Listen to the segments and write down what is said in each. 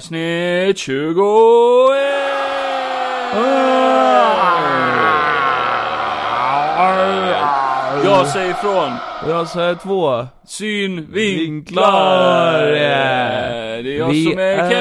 Avsnitt 21! Jag säger ifrån. Jag säger två. Synvinklar! Vinklar. Det är jag Vi som är är-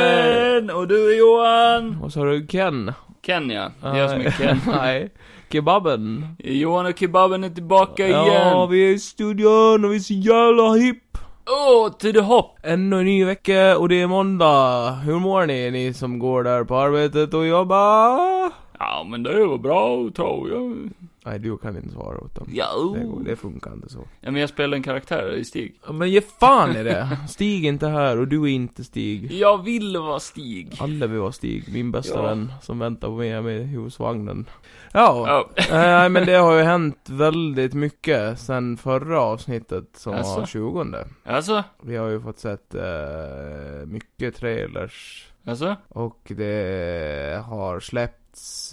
Ken och du är Johan. Och så har du Ken. Ken ja, det är jag som är Nej. Ken. Nej. Kebaben. Johan och Kebaben är tillbaka Ja, igen. vi är i studion och vi är så jävla hipp. Åh, till det hopp! Ännu en ny vecka och det är måndag. Hur mår ni, ni som går där på arbetet och jobbar? Ja men det var bra tror jag. Nej, du kan inte svara åt dem. Ja. Det, går, det funkar inte så. ja men jag spelar en karaktär i Stig. Ja, Men ge fan i det. Stig är inte här och du är inte Stig. Jag vill vara Stig. Alla vill vara Stig, min bästa Ja. vän, som väntar på mig hemma i husvagnen. Ja. Ja. Nej men det har ju hänt väldigt mycket sen förra avsnittet som Jaså? var 20 Alltså, Vi har ju fått sett eh, mycket trailers alltså, och det har släppts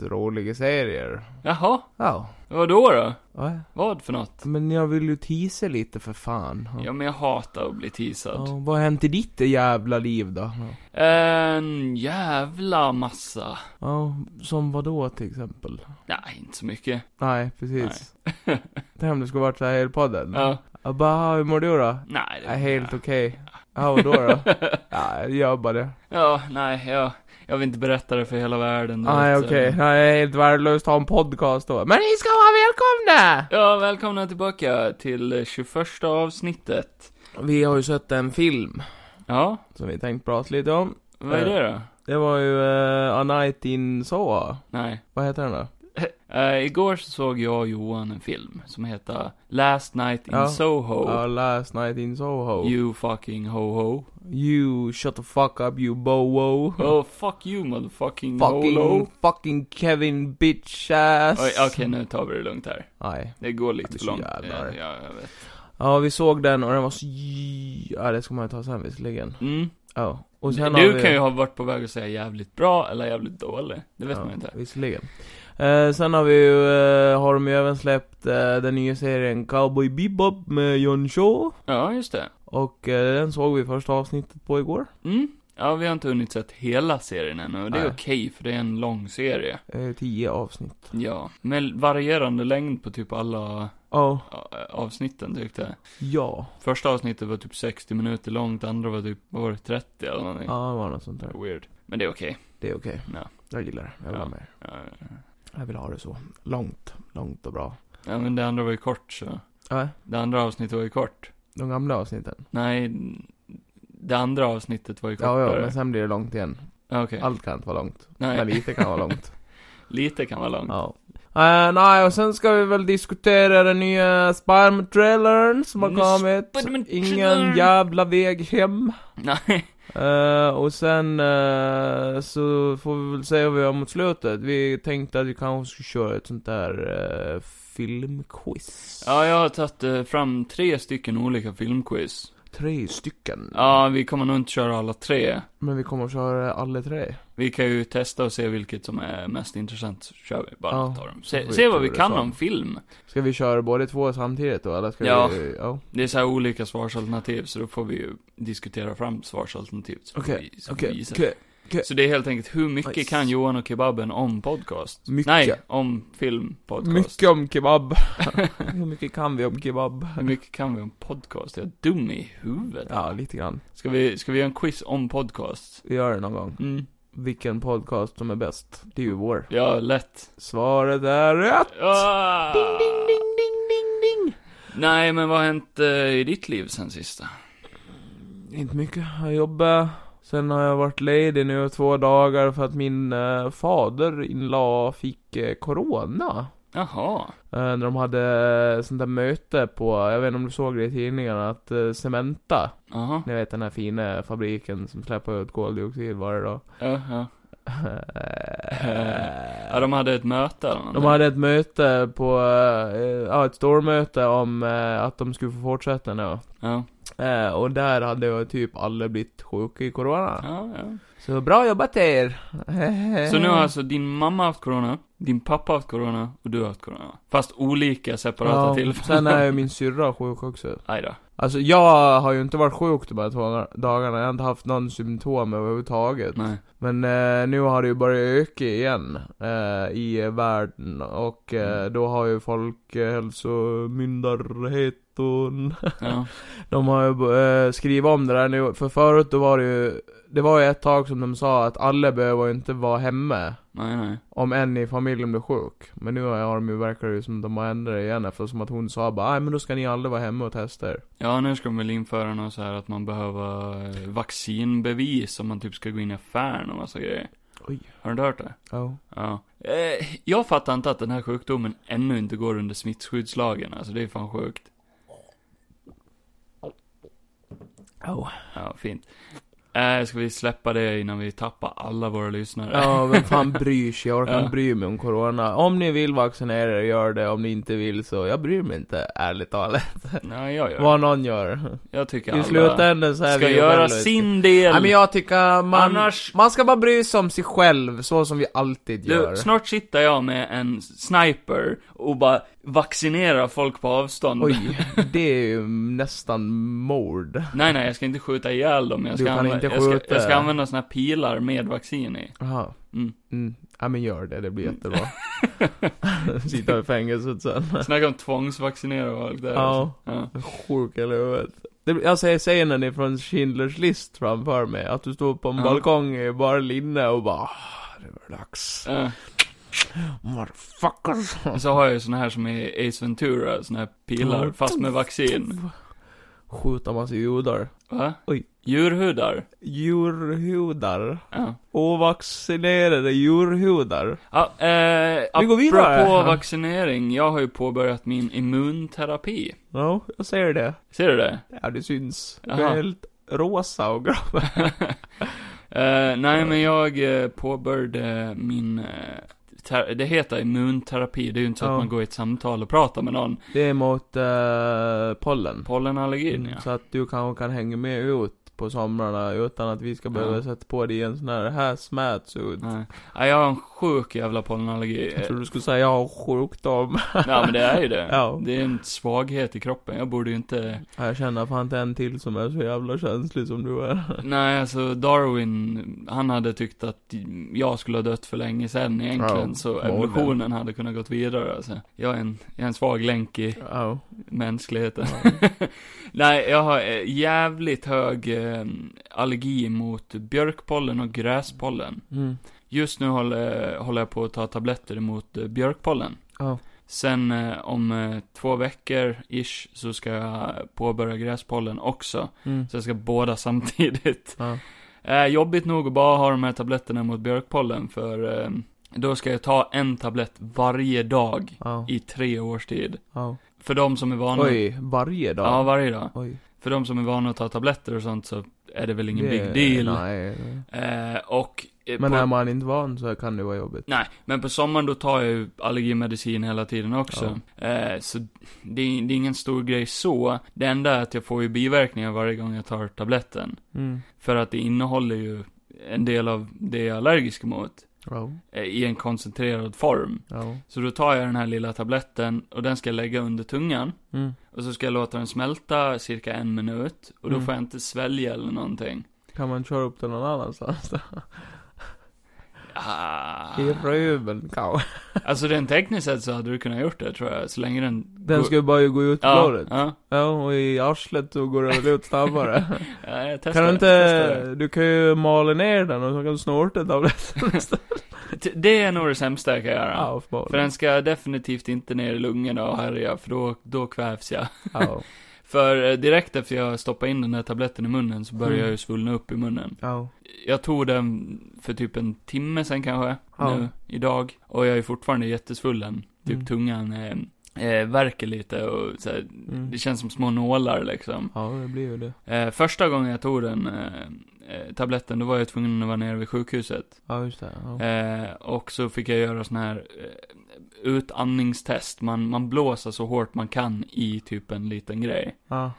roliga serier. jaha. Ja. Vad då då? Va? Vad för något? Men jag vill ju teasa lite för fan. Ja men jag hatar att bli teasad. Ja, vad har hänt i ditt jävla liv då? Ja. En jävla massa. Ja, som vad då till exempel? Nej, inte så mycket. Nej, precis. Tänk om det skulle varit så här i podden. Ja. Jag bara, hur mår du då? Nej, det Ja, helt okej. Ja, och då då? ja, jag gör bara det. Ja, nej, jag, jag vill inte berätta det för hela världen. du Nej, vet, så- okej. Nej, jag är helt värdelöst att ha en podcast då. Men ni ska vara välkomna! Ja, välkomna tillbaka till eh, 21 avsnittet. Vi har ju sett en film Ja, som vi tänkt prata lite om. vad är Eh. det då? Det var ju eh, A Night in Soa. Nej. Vad heter den då? Eh, igår så såg jag och Johan en film som heter Last Night in Ja. Soho. Ja, Last Night in Soho. You, Oh. You fucking ho-ho. shut the fuck up you bowo. Oh, fuck you motherfucking holo. Mm. Fucking, fucking Kevin bitch ass. Oj, Okej, nu tar vi det lugnt här. Nej. Det går Ja, det lite är för så långt. Eh, jävlar. Ja, ja, jag vet. Ja, vi såg den och den var så... j- Ja, det ska man ju ta sen visserligen. Mm. Ja. Och sen har Du vi... kan ju ha varit på väg att säga jävligt bra eller jävligt dålig. Det vet ja, man inte. Visserligen. Eh, sen har vi ju, eh, har de ju även släppt eh, den nya serien Cowboy Bebop med Jon Shaw. Ja, just det. Och eh, den såg vi första avsnittet på igår. Mm. Ja, vi har inte hunnit sett hela serien ännu, och det är Nej. okej, för det är en lång serie. Eh, tio avsnitt. Ja, med varierande längd på typ alla Ja. ja, avsnitten tyckte jag. ja. Första avsnittet var typ 60 minuter långt, andra var typ, vad var det, 30 eller någonting? Ja, det var något sånt där. Weird. Men det är okej. Det är okej. Ja. Jag gillar det. Jag vill Ja. ha med. Ja, ja, ja. Jag vill ha det så. Långt. Långt och bra. Ja, men det andra var ju kort så. Nej, Det andra avsnittet var ju kort. de gamla avsnitten. Nej, det andra avsnittet var ju Ja, ja, kortare. men sen blir det långt igen. Ja, Okej. Allt kan inte vara långt. Nej, Men lite kan vara långt. lite kan vara långt. Ja. Eh, nej, och sen ska vi väl diskutera den nya Spiderman-trailern som har Ny Spiderman-trailern. kommit. Ingen jävla väg hem. Nej. Eh, och sen eh, så får vi väl säga vad vi gör mot slutet. Vi tänkte att vi kanske skulle köra ett sånt där eh, filmquiz. Ja, jag har tagit eh, fram tre stycken olika filmquiz. Tre stycken. Ja, vi kommer nog inte köra alla tre. Men vi kommer att köra alla tre. Vi kan ju testa och se vilket som är mest intressant, så kör vi bara Ja, något av dem. får Se, vi se vad tur vi i kan så. om film. Ska vi köra båda två samtidigt då, eller ska Ja. vi... Ja. Det är så här olika svarsalternativ, så då får vi ju diskutera fram svarsalternativ. så får Okej, vi- så får vi okej, gissa. okej. Så det är helt enkelt, hur mycket Nice. kan Johan och Kebaben om podcast? Mycket. Nej, om film, podcast. Mycket om kebab. Hur mycket kan vi om kebab? Hur mycket kan vi om podcast? Jag är dum i huvudet. Ja, lite grann. Ska vi, ska vi göra en quiz om podcast? Vi gör det någon gång. Mm. Vilken podcast som är bäst? Det är ju vår. Ja, lätt. Svaret är rätt! Ah! Ding, ding, ding, ding, ding, ding! Nej, men vad har hänt eh, i ditt liv sen sista? Inte mycket. Jag jobbar. Sen har jag varit ledig nu två dagar för att min eh, fader inla fick eh, corona. Jaha. Eh, när de hade eh, sånt där möte på, jag vet inte om du såg det i tidningarna, att eh, Cementa, Jaha. ni vet den här fina fabriken som släpper ut koldioxid varje dag. Ja, ja. ja, de hade ett möte eller De någonting. hade ett möte på, eh, ja ett stormöte om eh, att de skulle få fortsätta nu. Ja. Eh, och där hade ju typ alla blivit sjuka i corona. Ja, ja. Så bra jobbat er! Så Eh. nu har alltså din mamma haft corona, din pappa haft corona och du har haft corona. Fast olika separata Ja, tillfällen. Sen är ju min syrra sjuk också. Aj då. Alltså jag har ju inte varit sjuk de här två dagarna, jag har inte haft någon symptom överhuvudtaget. Nej. Men eh, nu har det ju börjat öka igen eh, i världen och eh, Mm. då har ju folkhälsomyndigheten Ja. De har ju eh, skrivit om det där nu, för förut då var det ju Det var ju ett tag som de sa att alla behöver ju inte vara hemma Nej, nej. om en i familjen blir sjuk. Men nu har de ju, verkar det ju som att de har ändrat det igen eftersom att hon sa bara "Aj, men då ska ni alla vara hemma och testa er. Ja, nu ska de väl införa något så här att man behöver eh, vaccinbevis om man typ ska gå in i affären och massa grejer. Oj. Har du inte hört det? Oh. Ja. Eh, jag fattar inte att den här sjukdomen ännu inte går under smittskyddslagen. Alltså det är fan sjukt. Oh. Ja, fint. Eh, ska vi släppa det innan vi tappar alla våra lyssnare? Ja, vem fan bryr sig? Jag orkar Ja. inte bry mig om corona. Om ni vill vaccinera er, gör det. Om ni inte vill så, jag bryr mig inte, ärligt talat. Nej, jag gör Vad det. någon gör. Jag tycker I alla slutändan så är ska vi ju göra själva- sin del. Nej men jag tycker man, Annars- man ska bara bry sig om sig själv, så som vi alltid gör. Du, snart sitter jag med en sniper och bara vaccinerar folk på avstånd. Oj, det är ju nästan mord. Nej, nej, jag ska inte skjuta ihjäl dem. Jag Du ska, kan använda, inte jag ska, skjuta. jag ska använda såna här pilar med vaccin i. Jaha. Mm. Mm. Ja men gör det, det blir jättebra. Sitta i fängelset sen. Snacka om tvångsvaccinera folk där. Ja. Ja. Sjuk eller huvudet. Det blir- alltså, Jag säger scenen ifrån Schindler's list framför mig, att du står på en Ja. balkong i bara linne och bara "Ah, det var dags. Ja. Motherfuckers. Och så har jag ju såna här som i Ace Ventura, såna här pilar Ja. fast med vaccin. Skjuta massa judar. Va? Oj. Djurhudar. Djurhudar. Ja. Ovaccinerade djurhudar. Ja, eh, Vi går vidare. Apropå Ja. vaccinering, jag har ju påbörjat min immunterapi. Ja, jag säger det. Ser du det? Ja, det syns. Du Jaha. är helt rosa och grå. Eh, nej, men jag eh, påbörjade min... eh, ter- det heter immunterapi, det är ju inte så Ja. att man går i ett samtal och pratar med någon. Det är mot eh, pollen. Pollenallergin, ja. Så att du kanske kan hänga med ut på somrarna utan att vi ska behöva Ja. sätta på dig en sån här, här smäts ut. Nej. Nej, jag har en sjuk jävla pollenallergi. Jag trodde du skulle säga jag har sjukdom. Ja, men det är ju det. Ja. Det är en svaghet i kroppen. Jag borde ju inte... Jag känner fan inte en till som är så jävla känslig som du är. Nej, alltså Darwin, han hade tyckt att jag skulle ha dött för länge sedan egentligen. Ja, så förmodligen. evolutionen hade kunnat gått vidare alltså. Jag är en, jag är en svag länk i Ja. mänskligheten. Nej, jag har eh, jävligt hög eh, allergi mot björkpollen och gräspollen. Mm. Just nu håller, håller jag på att ta tabletter emot eh, björkpollen. Ja. Sen eh, om eh, två veckor-ish så ska jag påbörja gräspollen också. Mm. Så jag ska båda samtidigt. Ja. Eh, jobbigt nog att bara ha de här tabletterna mot björkpollen för eh, då ska jag ta en tablett varje dag Ja. i tre års tid. ja. För de som är vana... Oj, varje dag? Ja, varje dag. Oj. För de som är vana att ta tabletter och sånt så är det väl ingen Det- big deal. Nej. Eh, och... eh, Men på... är man inte van så kan det vara jobbigt. Nej, men på sommaren då tar jag ju allergimedicin hela tiden också. Eh, så det är, det är ingen stor grej så. Det enda är att jag får ju biverkningar varje gång jag tar tabletten. Mm. För att det innehåller ju en del av det jag är allergisk mot. Ja. eh, I en koncentrerad form. Ja. Så då tar jag den här lilla tabletten och den ska jag lägga under tungan. Mm. Och så ska jag låta den smälta cirka en minut. Och då Mm. får jag inte svälja eller någonting. Kan man köra upp den någon annanstans? Ah. I röven kanske? Alltså rent tekniskt sett så hade du kunnat gjort det tror jag. Så länge den... Den går- ska ju bara ju gå ut i Ja, blodet. ja. Ja, och i arslet så går det väl ut snabbare. Ja, jag testar kan du det, inte, testar det. du kan ju mala ner den och så kan du snorta ett av det. T- Det är nog det sämsta jag kan göra. Ja, För förmodligen. den ska definitivt inte ner i lungorna och härja, för då, då kvävs jag. Ja. För eh, direkt efter jag stoppade in den där tabletten i munnen så började Mm. jag ju svullna upp i munnen. Ja. Jag tog den för typ en timme sen kanske, Ja. nu, idag. Och jag är fortfarande jättesvullen. Typ Mm. tungan eh, eh, värker lite och så här, Mm. det känns som små nålar liksom. Ja, det blir ju det. Eh, första gången jag tog den eh, eh, tabletten, då var jag tvungen att vara nere vid sjukhuset. Ja, just det. Ja. Eh, och så fick jag göra sån här eh, utandningstest. Man, man blåser så hårt man kan i typ en liten grej. Ja.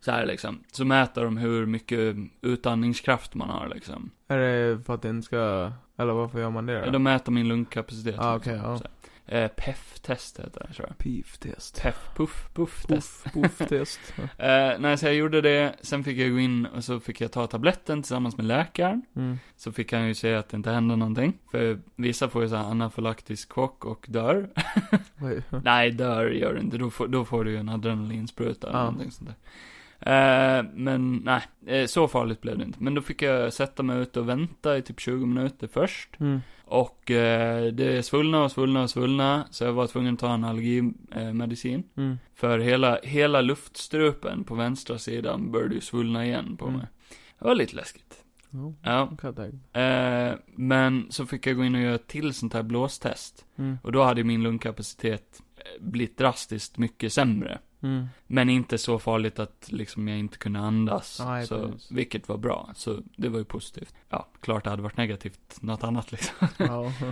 Så här liksom. Så mäter de hur mycket utandningskraft man har liksom. Är det för att den ska, eller varför gör man det då? De mäter min lungkapacitet. Ah, liksom. okej, ja. Så Eh, PEF-test heter det, tror jag. Piftest. PEF, puff, puff-test. Puff, pufftest. Eh, nej, så jag gjorde det, sen fick jag gå in och så fick jag ta tabletten tillsammans med läkaren. Mm. Så fick han ju säga att det inte hände någonting. För vissa får ju så här anafylaktisk chock och dör. Vad är- Nej, dör gör det inte. Då får, då får du ju en adrenalinspruta eller Ja. någonting sånt där. Eh, men nej, eh, så farligt blev det inte. Men då fick jag sätta mig ute och vänta i typ 20 minuter först. Mm. Och eh, det svullna och svullna och svullna, så jag var tvungen att ta en allergimedicin. Mm. För hela, hela luftstrupen på vänstra sidan började ju svullna igen på Mm. mig. Det var lite läskigt. Jo, Ja. kan jag tänka. Eh, men så fick jag gå in och göra ett till sånt här blåstest. Mm. Och då hade min lungkapacitet eh, blivit drastiskt mycket sämre. Mm. Men inte så farligt att liksom jag inte kunde andas. Nej, så, precis. vilket var bra. Så det var ju positivt. Ja, klart det hade varit negativt. Något annat liksom. Ja.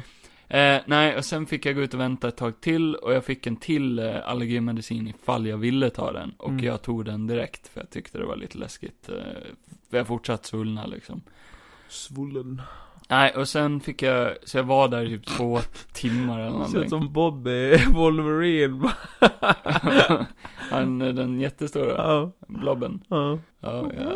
Eh, nej, och sen fick jag gå ut och vänta ett tag till och jag fick en till eh, allergimedicin ifall jag ville ta den. Och Mm. jag tog den direkt för jag tyckte det var lite läskigt. Eh, för jag fortsatt svullna liksom. Svullen. Nej, och sen fick jag, så jag var där i typ två timmar eller Ser ut någonting. som Bobby Wolverine. Han, eh, den jättestora Ja. blobben. Ja. Ja, ja.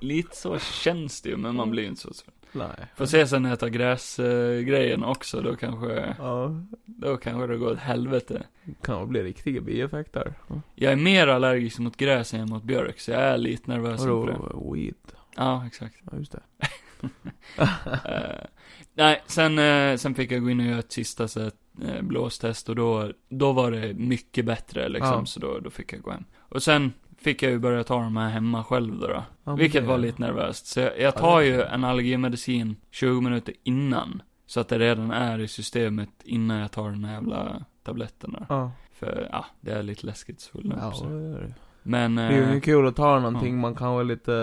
Lite så känns det ju, men man blir ju inte så svullen. Nej. Får se sen när jag tar gräsgrejen eh, grejen också, då kanske, Ja. då kanske det går åt helvete. Kan bli riktiga bieffekter. Jag är mer allergisk mot gräs än mot björk, så jag är lite nervös inför det. Vadå weed? Ja, exakt. Ja, just det. Eh, nej, sen, eh, sen fick jag gå in och göra ett sista så här, eh, blåstest och då, då var det mycket bättre liksom, Ja. så då, då fick jag gå hem. Och sen fick jag ju börja ta de här hemma själv då, då Ja, men vilket det- var lite nervöst. Så jag, jag det- tar ju en allergimedicin 20 minuter innan, så att det redan är i systemet innan jag tar den här jävla tabletten där. Ja. För, ja, det är lite läskigt svullen. Ja, så. det är det. Men... Det är eh, ju kul att ta någonting man kan vara lite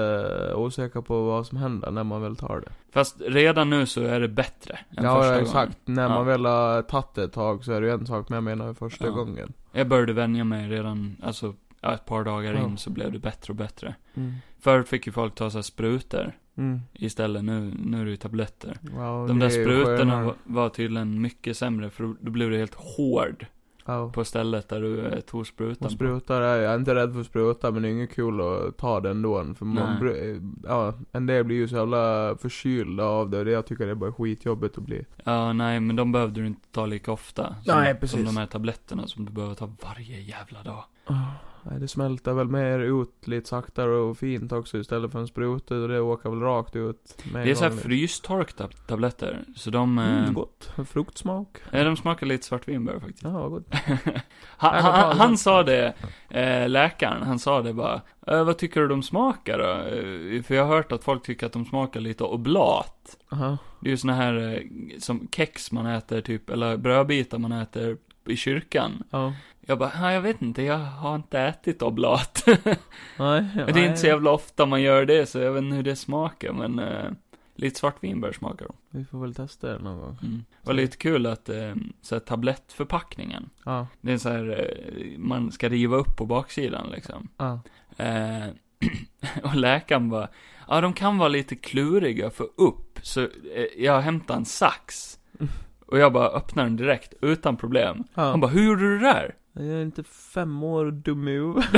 eh, osäker på vad som händer när man väl tar det. Fast redan nu så är det bättre än Ja, första ja, gången. exakt. När Ja. man väl har tagit det ett tag så är det ju en sak, men jag menar första Ja. gången. Jag började vänja mig redan, alltså ja, ett par dagar Ja. in så blev det bättre och bättre. Mm. Förut fick ju folk ta så här sprutor Mm. istället, nu, nu är det ju tabletter. Ja, och De det där är ju sprutorna skönare. var, var tydligen mycket sämre för då- då blev du helt hård Ja. på stället där du eh, tog Och sprutan. på. sprutar, är- jag är inte rädd för spruta men det är inget kul att ta den då. För man, Nej. bru- ja, en del blir ju så jävla förkylda av det och det jag tycker det är bara skitjobbigt att bli. Ja, nej, men de behövde du inte ta lika ofta. Som, Nej, precis. Som de här tabletterna som du behöver ta varje jävla dag. Ah, nej, det smälter väl mer ut lite saktare och fint också istället för en spruta och det åker väl rakt ut. med en Det är så här gång. frystorkta tabletter, så de... eh, Mm, gott. Fruktsmak. eh, de smakar lite svartvinbär faktiskt. Ja, vad gott. han, Nej, han, men fan. han sa det, eh, läkaren, han sa det bara, eh, vad tycker du de smakar då? Eh, för jag har hört att folk tycker att de smakar lite oblat. Aha. Det är ju såna här, eh, som kex man äter typ, eller brödbitar man äter i kyrkan. Ja. Jag bara, "Ja, jag vet inte, jag har inte ätit oblat. Nej, Men det är inte så jävla ofta man gör det, så jag vet inte hur det smakar, men eh, lite svartvinbär smakar de. Vi får väl testa det någon gång. Mm. Det var lite kul att, eh, så här, tablettförpackningen, Ja. det är så här, eh, man ska riva upp på baksidan liksom. Ja. Eh, och läkaren bara, ja de kan vara lite kluriga för upp, så eh, jag hämtade en sax. Och jag bara öppnade den direkt, utan problem. ja. Han bara, hur gjorde du det där? Jag är inte fem år och dum i huvudet.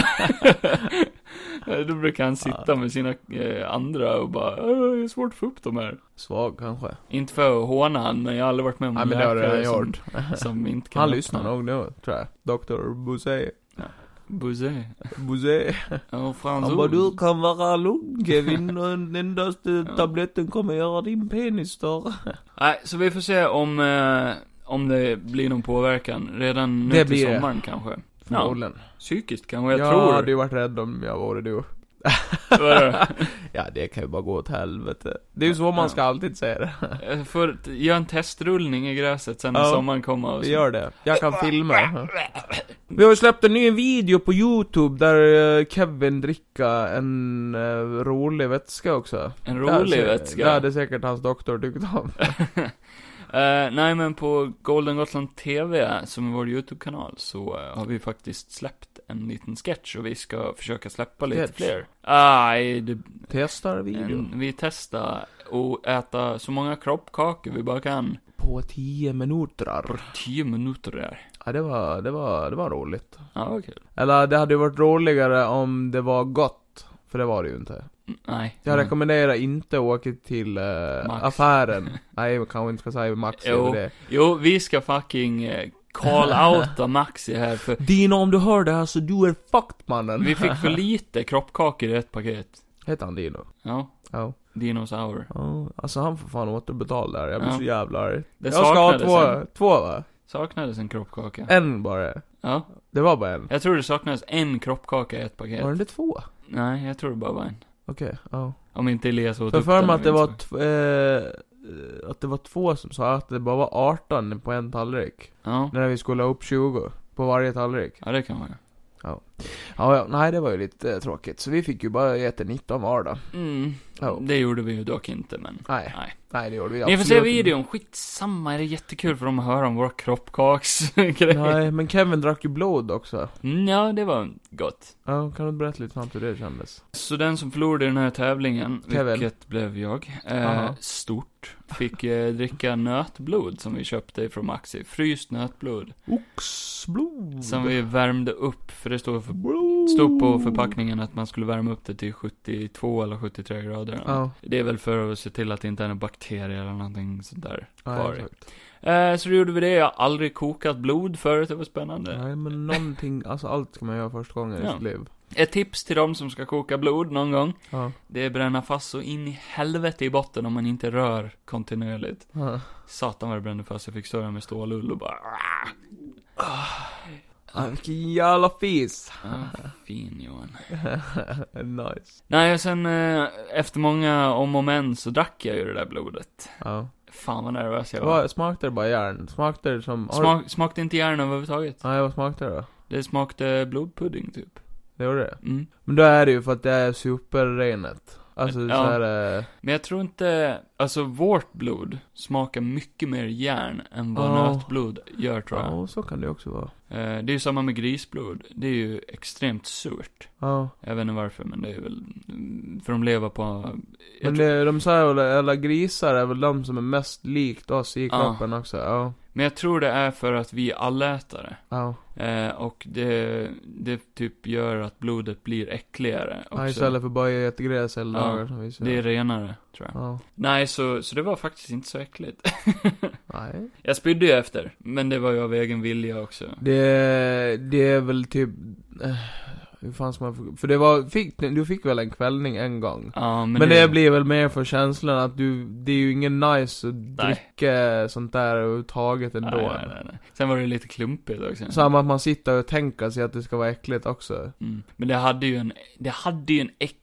Eh, Då brukar han sitta med sina eh, andra och bara, "Eh, det är svårt att få upp de här. Svag kanske. Inte för att håna han, men jag har aldrig varit med om Nej en men det har läkare jag som, gjort. som inte kan Han öppna. lyssnar nog nu, tror jag. Dr. Bosé. Buzé. Bosé. Ja, Han fransos. bara, du kan vara lugn Kevin. Den endaste tabletten kommer göra din penis större. Nej, så vi får se om, eh, om det blir någon påverkan. Redan nu Det till blir det. sommaren kanske. Förmodligen. Psykiskt kanske, jag Jag tror. hade ju varit rädd om jag vore du. Vad är det? Ja, det kan ju bara gå åt helvete. Det är ju så man ska alltid säga det. Jag får t- göra en testrullning i gräset sen när Ja. sommaren kommer och Vi så. gör det. Jag kan filma. Vi har ju släppt en ny video på Youtube där eh, Kevin dricker en eh, rolig vätska också. En Där rolig se- Det vätska. hade säkert hans doktor tyckt om. Eh, nej men på Golden Gotland TV, som är vår YouTube-kanal, så eh, har vi faktiskt släppt en liten sketch och vi ska försöka släppa lite Sketch. fler. Nej, det, Testar videon. en, vi testar att äta så många kroppkakor vi bara kan. På på 10 minuter. Tio minuter där. Ja, det var, det var, det var roligt. Ja, det var kul. Eller det hade ju varit roligare om det var gott. För det var det ju inte. Mm, Nej. Jag Mm. rekommenderar inte att åka till eh, Max. affären. Nej, jag kanske inte ska säga Max Jo. över det. Jo, vi ska fucking eh, call-outa Maxi här för Dino, om du hör det här så du är fucked mannen. vi fick för lite kroppkakor i ett paket. Heter han Dino? Ja, Ja. dinosaur. Ja, Alltså han får fan återbetala där. Jag blir Ja. så jävla arg. Det jag ska ha saknades två, Eh. en. två va? Saknades en kroppkaka. En bara. Ja. Det var bara en. Jag tror det saknades en kroppkaka i ett paket. Var det inte två? Nej, jag tror det bara var en. Okej, ja. Om inte Elias åt För upp för den, mig jag att det vet var, inte. tv- eh, att det var två som sa att det bara var 18 på en tallrik. Ja. När vi skulle ha upp 20 på varje tallrik. ja, det kan man ju. Ja, ja, nej det var ju lite eh, tråkigt. Så vi fick ju bara äta 19 var då. Mm. Ja. Det gjorde vi ju dock inte, men. Nej. Nej. Nej, det gjorde vi Ni får se absolut inte. videon, skitsamma, det är jättekul för dem att höra om våra kroppkaksgrejer. Nej, men Kevin drack ju blod också. Mm, Ja, det var gott. Ja, kan du berätta lite snabbt hur det kändes? Så den som förlorade den här tävlingen, Kevin. vilket blev jag, eh, Aha. stort, fick eh, dricka nötblod som vi köpte från Maxi. Fryst nötblod. Oxblod! Som vi värmde upp, för det stod, för, Oh, Blod. stod på förpackningen att man skulle värma upp det till 72 eller 73 grader. eller något. Ja, Det är väl för att se till att det inte är några bakterier eller någonting sånt där ja kvar. i. exakt. Eh, så då gjorde vi det, jag har aldrig kokat blod förut, det var spännande. Nej, men någonting, alltså allt ska man göra första gången i Ja. sitt liv. Ett tips till de som ska koka blod någon gång, Ja. det är bränna fast så in i helvete i botten om man inte rör kontinuerligt. Ja. Satan vad det brände fast, jag fick störa med stålull och bara ah. Ah, vilken jävla fis! Ja, Fin Johan. nice. Nej, och sen eh, efter många om och men så drack jag ju det där blodet. Ja. Fan vad nervös jag var. Vad, smakade det bara järn? Smakade det som... har du- Smak, smakade inte järn överhuvudtaget. Nej, vad smakade det då? Det smakade blodpudding typ. Det gjorde det? Mm. Men då är det ju för att det är superrenet. Alltså Ja. så är eh, Men jag tror inte, alltså vårt blod smakar mycket mer järn än vad Ja. nötblod gör tror jag. Ja, så kan det ju också vara. Eh, Det är ju samma med grisblod. Det är ju extremt surt. Ja. Jag vet inte varför, men det är väl, mm, för de lever på, jag Men tror- det, de säger väl, eller grisar är väl de som är mest likt oss i Ja. kroppen också. Ja. men jag tror det är för att vi är allätare. Ja. Eh, och det, det typ gör att blodet blir äckligare ja. också. Istället för bara äta gräs hela Ja. dagar som vi säger. det är renare, tror jag. Ja. Nej, så, så det var faktiskt inte så äckligt. Nej. jag spydde ju efter, men det var ju av egen vilja också. Det, det är väl typ... eh, Hur fan ska man... för- För det var... Fick, du fick väl en kvällning en gång? Ja, men, Men, det, blir väl mer för känslan att du... Det är ju ingen nice att dricka sånt där överhuvudtaget ändå. Nej, nej, nej, nej. Sen var det lite klumpigt också. Samma att man sitter och tänker sig att det ska vara äckligt också. Mm. Men det hade ju en, det hade ju en äcklig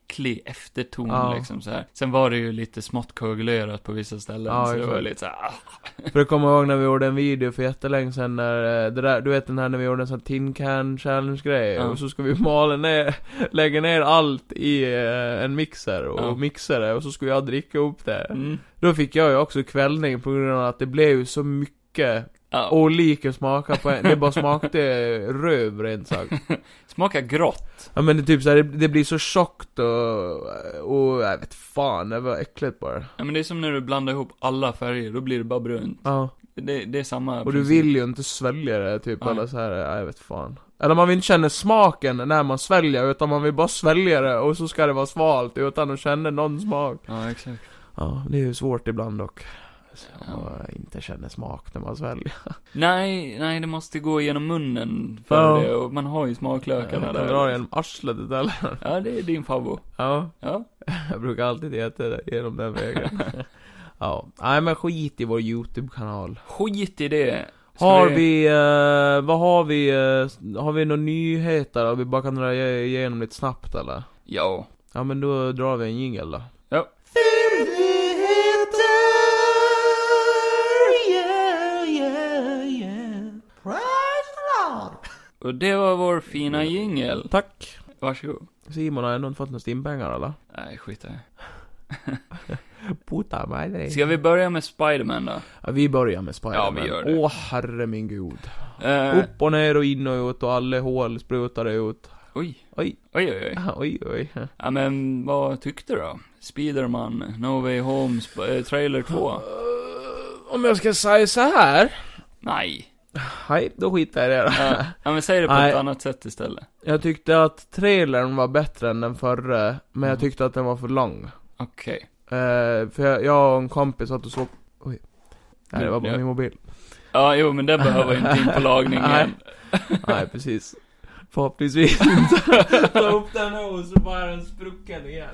efterton Ja. liksom så här. Sen var det ju lite smått koagulerat på vissa ställen, Ja, så det var exakt. lite så här, ah. För jag kommer ihåg när vi gjorde en video för jättelänge sedan när, eh, det där, du vet den här när vi gjorde en sån här tin can challenge grej Ja. och så ska vi mala ner, lägga ner allt i eh, en mixer och Ja. mixa det och så skulle jag dricka upp det. Mm. Då fick jag ju också kvällning på grund av att det blev ju så mycket Ja. olika smaker på en, det bara smakade röv rent sagt. Smaka grått. Ja men det är typ såhär, det, det blir så tjockt och, och jag vet fan, det var äckligt bara. Ja, men det är som när du blandar ihop alla färger, då blir det bara brunt. Ja. Det, det är samma Och du princip. vill ju inte svälja det typ, Nej. eller så här, ja, jag vet fan. Eller man vill inte känna smaken när man sväljer, utan man vill bara svälja det och så ska det vara svalt utan att känna någon smak. Ja, exakt. Ja, det är ju svårt ibland dock. Så Ja. man inte känner smak när man sväljer. Nej, nej, det måste gå genom munnen för Ja. det, och man har ju smaklökarna Jag kan där. dra genom arslet eller? Ja, det är din favvo. Ja, Ja. jag brukar alltid äta det genom den vägen. ja, nej men skit i vår YouTube-kanal. Skit i det. Ska Har vi, eh, vad har vi, eh, har vi några nyheter? Har vi bara kan dra igenom lite snabbt eller? Ja. Ja men då drar vi en jingel då. Ja. Och det var vår fina jingel. Tack. Varsågod. Simon har ändå inte fått några stimpengar eller? Nej, skit i det. Puta mig dig. Ska vi börja med Spiderman då? Ja, vi börjar med Spiderman. Ja, vi gör det. Åh herre min gud. Eh, Upp och ner och in och ut och alla hål sprutade ut. oj. Oj. Oj, oj, oj. Ah, Oj oj. Ja, men vad tyckte du då? Spiderman, No Way Home, Sp- eh, Trailer 2. Eh, Om jag ska säga så här. Nej. Nej, då skiter jag i det då. Ja, ja, men säg det på Nej. ett annat sätt istället. Jag tyckte att trailern var bättre än den förra, men jag tyckte att den var för lång. Okej. Eh, för jag, jag och en kompis satt och såg... Oj. Nej, det var bara Ja. min mobil. Ja, jo, men det behöver ju inte in på Nej. lagningen. Nej, precis. Förhoppningsvis inte. Ta upp den nu och så bara är den sprucken igen.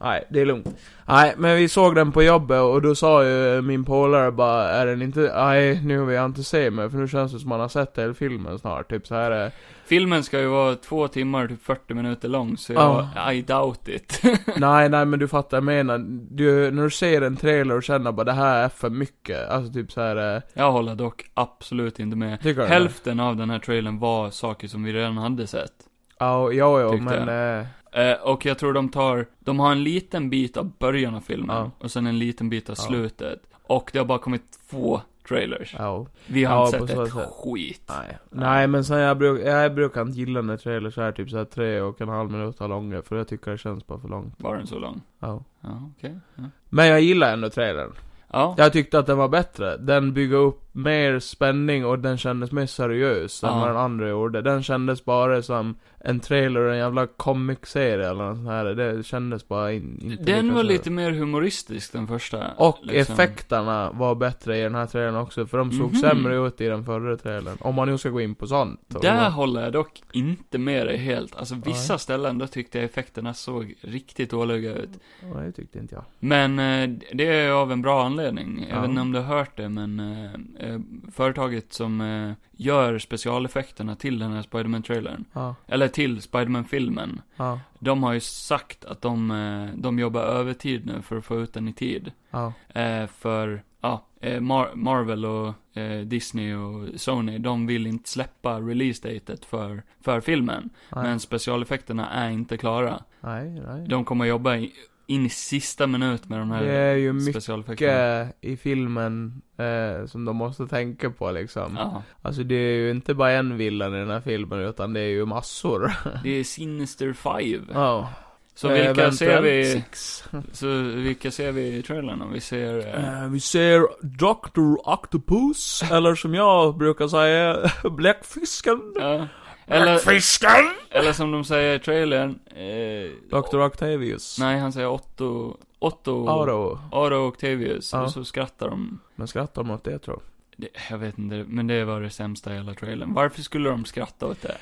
Nej, det är lugnt. Nej, men vi såg den på jobbet och då sa ju min polare bara, är den inte, nej nu vill jag inte se mer för nu känns det som man har sett hela filmen snart, typ så här. eh. Filmen ska ju vara två timmar, typ 40 minuter lång, så jag, Ja. I doubt it. Nej, nej men du fattar vad jag menar. Du, när du ser en trailer och känner bara det här är för mycket, alltså typ så här. eh, jag håller dock absolut inte med. Tycker du? Hälften av den här trailern var saker som vi redan hade sett. Ja, jo, jo, Tyckte men... eh, Eh, och jag tror de tar, de har en liten bit av början av filmen, Ja. och sen en liten bit av Ja. slutet. Och det har bara kommit två trailers. Ja. Vi har Ja, inte på sett så ett sätt. skit. Nej, nej men sen jag, bruk, jag brukar inte gilla när trailers är typ såhär tre och en halv minut långa, för jag tycker det känns bara för långt. Var den så lång? Ja. Ja, okej. Ja. Men jag gillar ändå trailern. Ja. Jag tyckte att den var bättre. Den bygger upp mer spänning och den kändes mer seriös än Ja. vad den andra gjorde. Den kändes bara som en trailer, en jävla comic-serie eller nåt sånt här. Det kändes bara in, inte den lika var så. lite mer humoristisk, den första. Och liksom. effekterna var bättre i den här trailern också, för de såg Mhm. sämre ut i den förra trailern. Om man nu ska gå in på sånt. Där håller jag dock inte med dig helt. Alltså vissa ställen, då tyckte jag effekterna såg riktigt dåliga ut. Ja, det tyckte inte jag. Men eh, det är av en bra anledning. Jag Ja. vet inte om du har hört det, men eh, eh, företaget som eh, gör specialeffekterna till den här Spiderman-trailern, Ja, eller till Spiderman-filmen, ja, de har ju sagt att de, eh, de jobbar övertid nu för att få ut den i tid. ja. Eh, för, ja, eh, Mar- Marvel och eh, Disney och Sony, de vill inte släppa release-datet för, för filmen. Nej, Men specialeffekterna är inte klara. nej. nej. De kommer jobba i, in i sista minut med de här Det är ju mycket specialeffekterna. eh, i filmen eh, som de måste tänka på liksom. Ja, Alltså det är ju inte bara en villan i den här filmen utan det är ju massor. det är Sinister Five. Ja. Så Eh, vilka eventuellt ser vi, Six. så vilka ser vi i trailern om vi ser, eh, Eh, vi ser Dr. Octopus, eller som jag brukar säga, Bläckfisken. ja. Eller, Bläckfisken! eller som de säger i trailern, eh, Dr. Octavius. nej han säger Otto, Otto, Aro. Aro Octavius, Ja. och så skrattar de. Men skrattar de åt det tror jag. Det, jag vet inte, men det var det sämsta i hela trailern. Varför skulle de skratta åt det?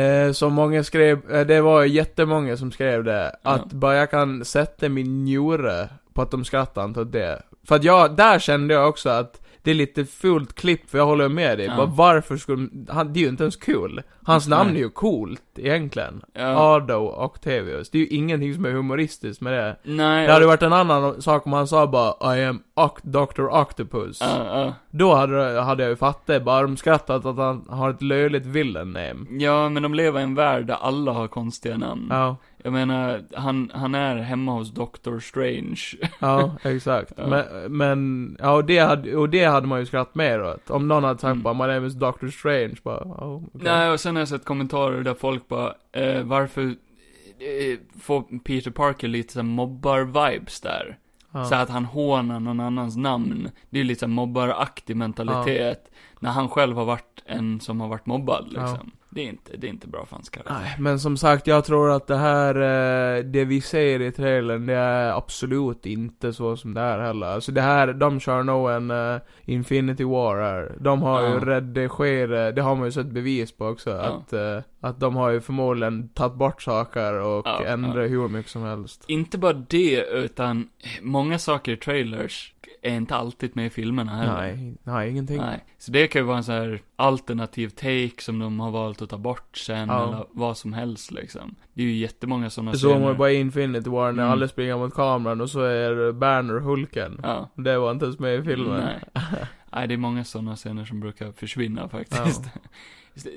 Eh, som många skrev, eh, det var jättemånga som skrev det, Ja. att bara jag kan sätta min njure på att de skrattar inte åt det. För att jag, där kände jag också att det är lite fult klipp, för jag håller med dig. Ja. Bara varför skulle han, det är ju inte ens kul. Hans namn Nej. är ju coolt, egentligen. Ja, Ardo Octavius. Det är ju ingenting som är humoristiskt med det. nej. Det hade varit en annan sak om han sa bara 'I am Oc- Dr. Octopus' Ja, ja. Då hade, det- hade jag ju fattat, bara de skrattat att han har ett löjligt villain name. ja, men de lever i en värld där alla har konstiga namn. Ja. Jag menar, han, han är hemma hos Doctor Strange. Ja, exakt. Ja. Men, men ja, och det, hade, och det hade man ju skrattat mer åt. Om någon hade sagt Mm. bara 'My name is Dr. Strange' bara, oh, okej. Nej, och sen har jag sett kommentarer där folk bara, eh, varför eh, får Peter Parker lite såhär mobbar-vibes där? ja. Så att han hånar någon annans namn. Det är ju lite såhär mobbaraktig mentalitet. När han själv har varit en som har varit mobbad liksom. Det, är inte, det är inte bra för hans karaktär. Nej, men som sagt, jag tror att det här, eh, det vi ser i trailern, det är absolut inte så som det är heller. Alltså det här, de kör nog en eh, Infinity War här. De har Ja. ju redigerat, det har man ju sett bevis på också, att, eh, att de har ju förmodligen tagit bort saker och Ja, ändrat hur mycket som helst. Inte bara det, utan många saker i trailers är inte alltid med i filmerna heller. Nej, nej, ingenting. Nej, så det kan ju vara en sån här alternativ take som de har valt att ta bort sen, Ja. eller vad som helst liksom. Det är ju jättemånga sådana Det såg man ju bara i Infinity War när Alltså, Mm. alla springer mot kameran och så är Banner Hulken. Ja. Det var inte ens med i filmen. Nej. Nej, det är många sådana scener som brukar försvinna faktiskt.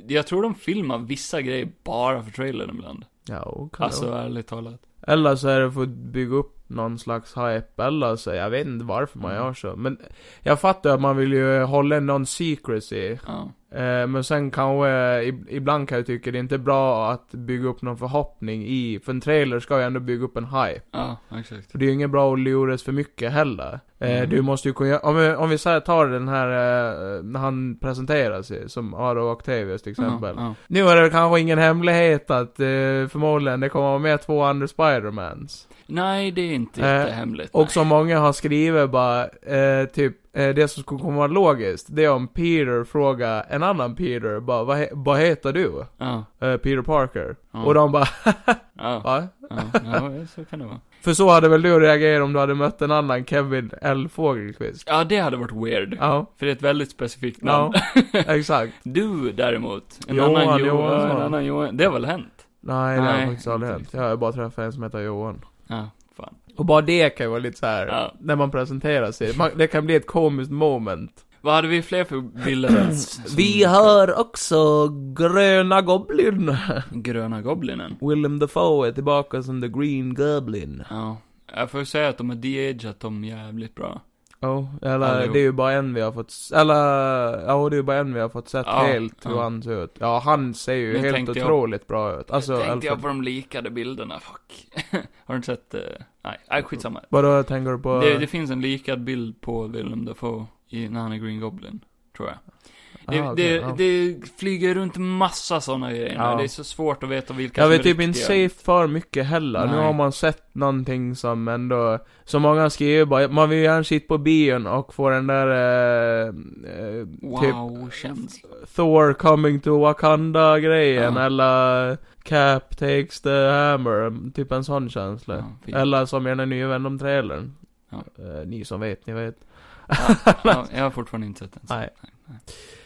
Jag tror de filmar vissa grejer bara för trailern ibland. Ja, och kan det alltså, vara. ärligt talat. Eller så är det för att bygga upp någon slags hype eller så. Jag vet inte varför man Mm. gör så. Men jag fattar att man vill ju hålla någon secrecy. Ja. Eh, men sen kanske, ib- ibland kan jag tycka det är inte bra att bygga upp någon förhoppning i, för en trailer ska ju ändå bygga upp en hype. Ja, exakt. För det är ju inget bra att luras för mycket heller. Eh, Mm. Du måste ju kunna, om vi, om vi så här tar den här, eh, när han presenterar sig, som Aro Octavius till exempel. Ja, Nu är det kanske ingen hemlighet att eh, förmodligen det kommer vara med två andra Spidermans. ja. Nej, det är inte Eh, jättehemligt. Och som många har skrivit bara, eh, typ, eh, det som skulle komma vara logiskt, det är om Peter frågar en annan Peter, bara, vad, he- vad heter du? nej. Ja. Eh, Peter Parker. Ja. Och de bara, Ja, va? ja, ja, så kan det vara. För så hade väl du reagerat om du hade mött en annan Kevin L. Fågelqvist? Ja, det hade varit weird. Ja, För det är ett väldigt specifikt namn. ja, exakt. Du däremot, en Johan annan Johan, Johansson. en annan Johan, det har väl hänt? Nej, det har Nej, faktiskt aldrig inte hänt. Jag har bara träffat en som heter Johan. Ja, fan. Och bara det kan ju vara lite så här. Ja. när man presenterar sig. Man, det kan bli ett komiskt moment. Vad hade vi fler för bilder? som- har också Gröna Goblin. Gröna Goblinen. Willem Dafoe är tillbaka som The Green Goblin. Ja. Jag får ju säga att de har de-ageat dem jävligt bra. Ja, eller Allihop. det är ju bara en vi har fått, s- eller, ja det är ju bara en vi har fått sett Ja, helt hur ja. han ser ut. Ja, han ser ju Nu helt tänkte jag- otroligt bra ut. Alltså, tänkte Alfred, jag på de likade bilderna, fuck. har du inte sett, eh, nej, nej skitsamma. vadå tänker du på? Det, det finns en likad bild på Willem Dafoe i, när han är Green Goblin, tror jag. Det, Ah, okej, det, ja. det flyger runt massa sådana grejer Ja. nu. Det är så svårt att veta vilka Jag som vill är typ inte riktiga. säga för mycket heller. Nu Nej. har man sett någonting som ändå, som många skriver bara, man vill ju gärna sitta på bion och få den där, eh, eh, typ Wow-känsla. Thor coming to Wakanda grejen, Ja. eller Cap takes the hammer, typ en sån känsla. Ja, fint. Eller som i den nya Venom-trailern. Ja. Eh, ni som vet, ni vet. ja, jag har fortfarande inte sett den. så- Nej. nej.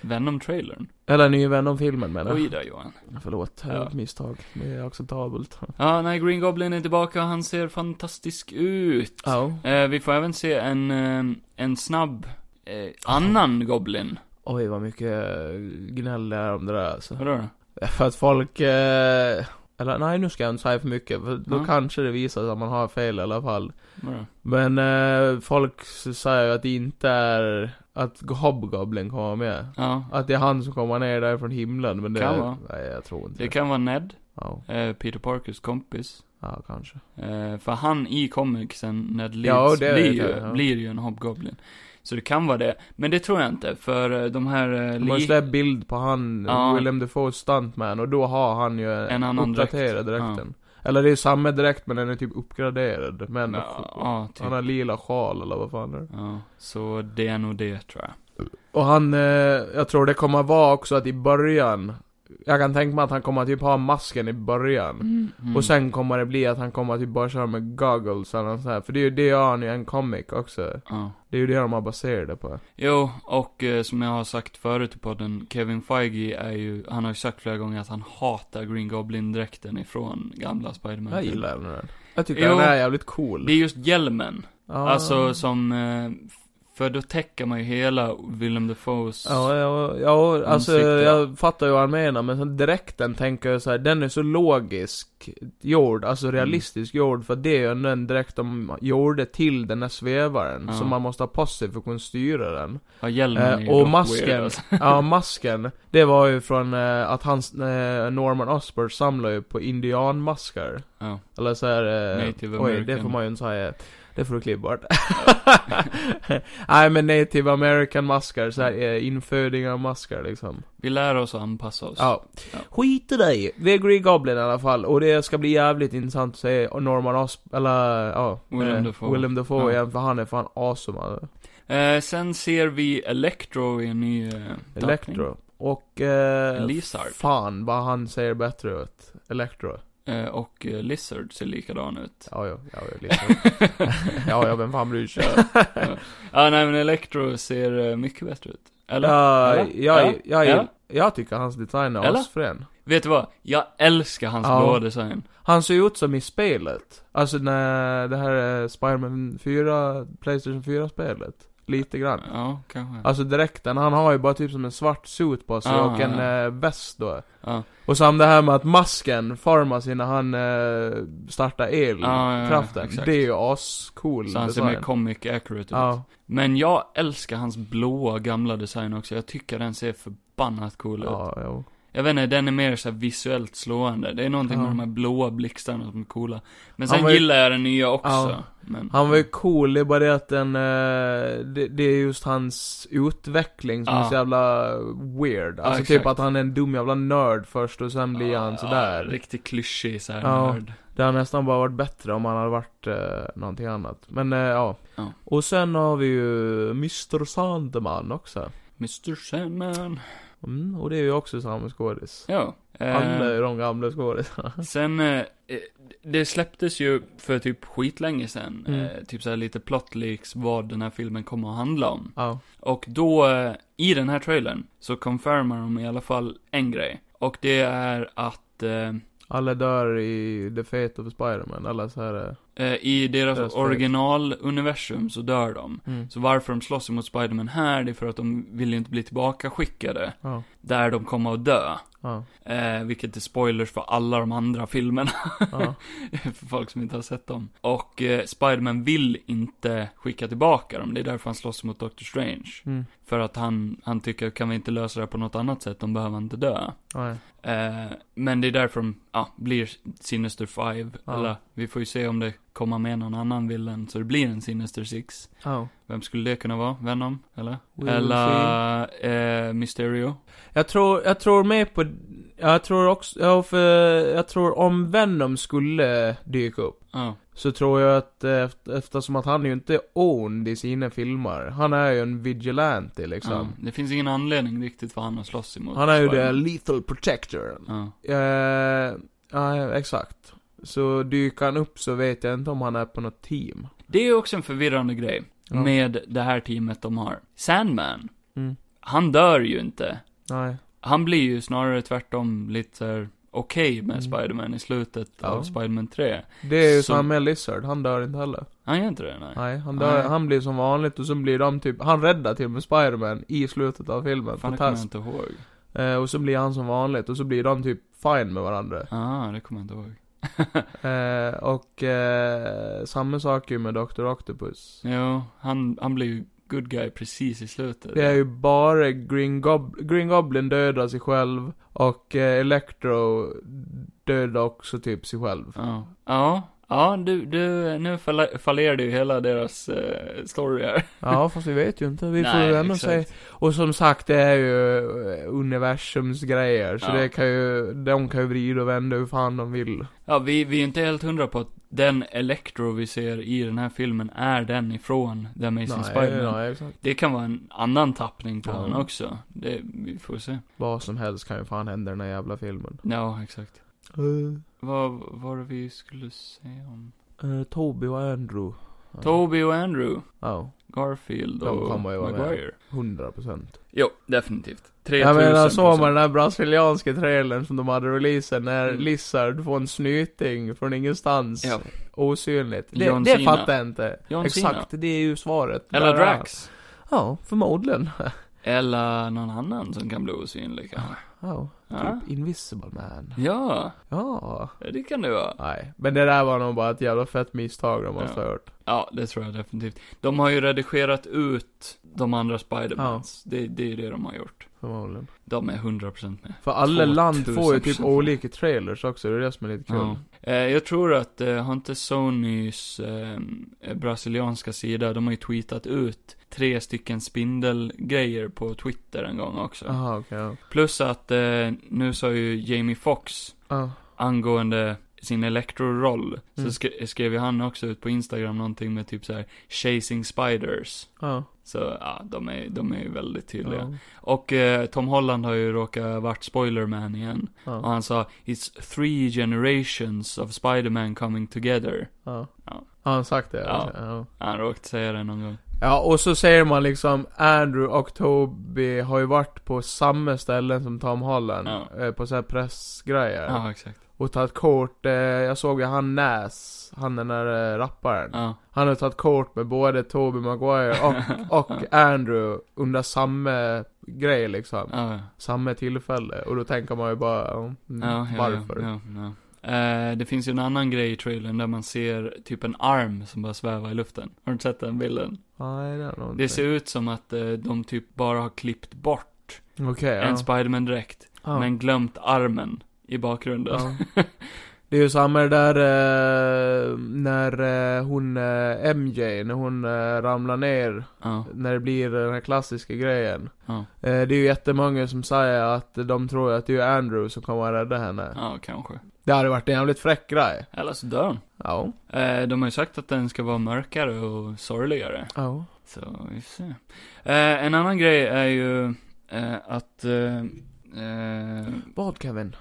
Venom-trailern. Eller ny Venom-filmen menar jag. Oj då Johan. Förlåt, det Ja. var ett misstag. Det är acceptabelt. Ja, nej, Green Goblin är tillbaka och han ser fantastisk ut. Ja. Eh, vi får även se en, eh, en snabb eh, annan Goblin. Oj, vad mycket eh, gnäll det är om det där alltså. Vadå då? För att folk... Eh, eller nej, nu ska jag inte säga för mycket. För då Ja. kanske det visar sig att man har fel i alla fall. Vadå? Men eh, folk s- säger ju att det inte är... Att Hobgoblin kommer med. Ja. Att det är han som kommer ner där från himlen. Men det... Kan vara. Nej, jag tror inte Det kan vara Ned, Ja, eh, Peter Parkers kompis. ja kanske. Eh, för han i comicsen, Ned Ja, Leeds, det blir, vet ju, jag, ja. blir ju en Hobgoblin. Så det kan vara det. Men det tror jag inte, för eh, de här... Eh, Man li- släpper bild på han, Ja. Willem Dafoe stuntman, och då har han ju En annan dräkt. uppdaterad dräkten. Eller det är samma dräkt men den är typ uppgraderad. Men ja, ja, typ. han har lila sjal eller vad fan det är. Ja, så det är nog det tror jag. Och han, eh, jag tror det kommer vara också att i början, jag kan tänka mig att han kommer typ ha masken i början. Mm. Och sen kommer det bli att han kommer typ bara köra med goggles eller nåt sånt här. För det är ju det gör han ju i en comic också. Ja. Det är ju det de har baserat det på. Jo, och eh, som jag har sagt förut i podden, Kevin Feige är ju, han har ju sagt flera gånger att han hatar Green Goblin-dräkten ifrån gamla Spiderman. Jag gillar den. Typ. Jag Jo. tycker den är jävligt cool. Det är just hjälmen, Ja. alltså som, eh, för då täcker man ju hela Willem Dafoes. Ja, ja, ja alltså Ansikte, ja. jag fattar ju vad han menar, men sen direkten tänker jag så här, den är så logisk gjord, Mm. alltså realistisk gjord, för det är ju ändå en direkt de gjorde till den här svävaren, Ja. så man måste ha på sig för att kunna styra den. Ja, hjälmen är ju Eh, och dock masken, weird, alltså. ja masken, det var ju från eh, att hans, eh, Norman Osborn samlade ju på indianmaskar. ja. Eller så här, eh, Native Oj, det American. får man ju inte säga. Det får du klippa bort. Nej men native american maskar, så här, eh, infödingar av maskar liksom. Vi lär oss att anpassa oss. Ja. Ja. Skit i dig. Det är Green Goblin i alla fall. Och det ska bli jävligt intressant att se och Norman Os... Eller ja. Willem eh, Dafoe. Willem Dafoe Ja. igen, för han är fan awesome alltså. Eh, sen ser vi Electro i en ny eh, tappning. Electro. Och eh, Lizard. Fan vad han ser bättre ut. Electro. Eh, och eh, Lizard ser likadan ut. Ja, ja, ja, ja, Lizard. ja, ja, vem fan bryr sig? ja. ja, nej men Electro ser eh, mycket bättre ut. Eller? Ja, jag, Eller? jag, Eller? jag, Eller? jag tycker hans design är Eller? asfrän. Vet du vad? Jag älskar hans Ja. blå design. Han ser ju ut som i spelet. Alltså när det här eh, Spiderman 4, Playstation 4-spelet. lite grann. Ja, kanske. Alltså dräkten, han har ju bara typ som en svart suit på sig Ah, och en ja. eh, väst då. Ja. Och sen det här med att masken, Pharmacy, när han eh, startar Ja, ja, ja, elkraften. exakt. det är ju ascool Så han ser mer design. comic accurate ut. Ja, Men jag älskar hans blåa gamla design också. Jag tycker den ser förbannat cool ut. ja, jo. Jag vet inte, den är mer så här visuellt slående. Det är någonting Ja. med de här blåa blixtarna som är coola. Men Han sen var ju- gillar jag den nya också. Ja. Men... Han var ju cool, det är bara det att den, eh, det, det är just hans utveckling som Ja. är så jävla weird. Alltså typ exakt. att han är en dum jävla nörd först och sen blir han Ja, sådär. Riktigt klyschig såhär Ja. nörd. Det hade nästan bara varit bättre om han hade varit eh, någonting annat. Men eh, ja. Ja. Och sen har vi ju Mr Sandman också. Mr Sandman. Mm, och det är ju också samma skådis. Ja. Alla är Eh, ju de gamla skådisarna. sen, eh, eh, det släpptes ju för typ skitlänge sen. Mm. Eh, typ såhär lite plotleaks vad den här filmen kommer att handla om. ja. Och då, eh, i den här trailern, så confirmar de i alla fall en grej. Och det är att eh, Alla dör i The Fate of Spiderman, alla så här. eh, i deras Deras originaluniversum så dör de. eh, Mm. Så varför de slåss mot Spiderman här, det är för att de vill ju inte bli tillbaka skickade Ja. där de kommer att dö. Ja. Eh, vilket är spoilers för alla de andra filmerna, Ja. för folk som inte har sett dem. Och eh, Spiderman vill inte skicka tillbaka dem, det är därför han slåss mot Doctor Strange. Mm. För att han, han tycker, kan vi inte lösa det här på något annat sätt, de behöver inte dö. Nej. Eh, men det är därför de, ja, blir Sinister Five. Ja. Eller, vi får ju se om det kommer med någon annan villen, så det blir en Sinister Six. Ja. Vem skulle det kunna vara? Venom? Eller? We'll eller, eh, Mysterio? Jag tror, jag tror med på, jag tror också, ja, för jag tror om Venom skulle dyka upp. Ja. Så tror jag att eh, eft- eftersom att han ju inte är owned i sina filmer. Han är ju en vigilante ja. liksom. Det finns ingen anledning riktigt för han att slåss emot. Han är ju the Spider-Man. lethal protector. Ja. Eh, ja, exakt. Så dyker han upp så vet jag inte om han är på något team. Det är också en förvirrande grej Ja. med det här teamet de har. Sandman, Mm. han dör ju inte. Nej. Han blir ju snarare tvärtom lite så här okej med Mm. Spiderman i slutet Ja. av Spiderman 3. Det är ju Så- som med Lizard, han dör inte heller. Han gör inte det, nej. Nej, han dör, Nej. han blir som vanligt och så blir de typ, han räddar till och med Spiderman i slutet av filmen. Fan, det kommer jag Fantastiskt. inte ihåg. Eh, och så blir han som vanligt och så blir de typ fine med varandra. Ah, det kommer jag inte ihåg. Eh, och eh, samma sak ju med Dr. Octopus. Jo, han, han blir ju good guy precis i slutet. Det är ju bara Green Goblin, Green Goblin dödar sig själv och eh, Electro dödar också typ sig själv. Ja. Ja. Ja, du, du, nu falle- fallerade ju hela deras eh, story här. Ja, fast vi vet ju inte. Vi får Nej, ju ändå exakt. säga. Och som sagt, det är ju eh, universums grejer. Så Ja. det kan ju, de kan ju vrida och vända hur fan de vill. Ja, vi, vi är inte helt hundra på att den Electro vi ser i den här filmen är den ifrån The Amazing Spider-Man. nej, exakt. Det kan vara en annan tappning på Ja. den också. Det, vi får se. Vad som helst kan ju fan hända i den här jävla filmen. Ja, exakt. Uh, Vad var det vi skulle säga om? Eh, Toby och Andrew. Ja. Toby och Andrew. Ja, Garfield De och kommer ju vara med. Maguire. 100 procent. Jo, definitivt. 3000 Jag menar såg alltså, man den där brasilianska trailern som de hade releasen när Mm. Lizard får en snyting från ingenstans. Ja. Osynligt. Det, John det Cena. fattar jag inte. John Exakt, det är ju svaret. Cena. Eller Där är han. Drax. Ja, förmodligen. Eller någon annan som kan bli osynlig kanske. Ja, typ Ja. Invisible Man. Ja, Ja. det kan det vara. Nej, men det där var nog bara ett jävla fett misstag de måste Ja. ha gjort. Ja, det tror jag definitivt. De har ju redigerat ut de andra Spidermans. Det, det är ju det de har gjort. Förmodligen. De är 100% med. För alla land 2000%. får ju typ olika trailers också, det är det som är lite kul. Ja. Eh, jag tror att, eh, har inte Sonys eh, brasilianska sida, de har ju tweetat ut tre stycken spindelgrejer på Twitter en gång också. Jaha, okej. ja. Plus att eh, nu sa ju Jamie Foxx Ja. angående sin Electro-roll, Mm. så sk- skrev ju han också ut på Instagram någonting med typ så här 'Chasing Spiders' Ja. Så ja, de är, de är ju väldigt tydliga. Ja. Och eh, Tom Holland har ju råkat vart Spoilerman igen. Och Ja. han sa 'It's three generations of Spider-Man coming together' Ja. Ja. Har han sagt det? Ja. Ja. Han råkade säga det någon gång. Ja, och så säger man liksom Andrew och Toby har ju varit på samma ställen som Tom Holland. Ja. Eh, på så här pressgrejer. Ja, exakt. Och tagit kort, eh, jag såg ju han Näs, han den där eh, rapparen. Ja. Han har tagit kort med både Toby Maguire och, och Andrew under samma grej liksom. Ja, ja. Samma tillfälle. Och då tänker man ju bara, ja, mm, Ja, ja, varför? Ja, ja, ja. Eh, det finns ju en annan grej i trailern där man ser typ en arm som bara svävar i luften. Har du inte sett den bilden? Nej, det är nog Det inte. ser ut som att eh, de typ bara har klippt bort Okej, ja. en Spiderman-dräkt, ja. men glömt armen i bakgrunden. Ja. Det är ju samma det där eh, när eh, hon eh, MJ, när hon eh, ramlar ner, Ja, när det blir den här klassiska grejen. ja, Eh, det är ju jättemånga som säger att de tror att det är Andrew som kommer att rädda henne. ja, kanske. Det hade varit en jävligt fräck grej. Eller så dör hon. Ja. Eh, de har ju sagt att den ska vara mörkare och sorgligare. Ja. Så, vi får se. Eh, en annan grej är ju eh, att eh, eh, Vad Kevin?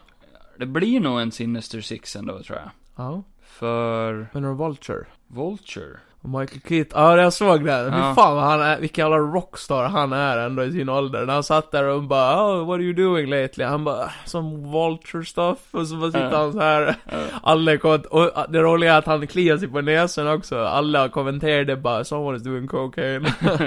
det blir nog en Sinister Six ändå, tror jag. Ja. För Men det var Vulture. Vulture. Och Michael Keaton, ja jag såg det. Fy Ja. fan vad han är, vilken jävla rockstar han är ändå i sin ålder. När han satt där och bara oh, what are you doing lately? Han bara, som vulture stuff. Och så bara sitter Ja. han så här. Alla är kont- och det roliga är att han kliar sig på näsan också. Alla kommenterade bara, someone is doing cocaine.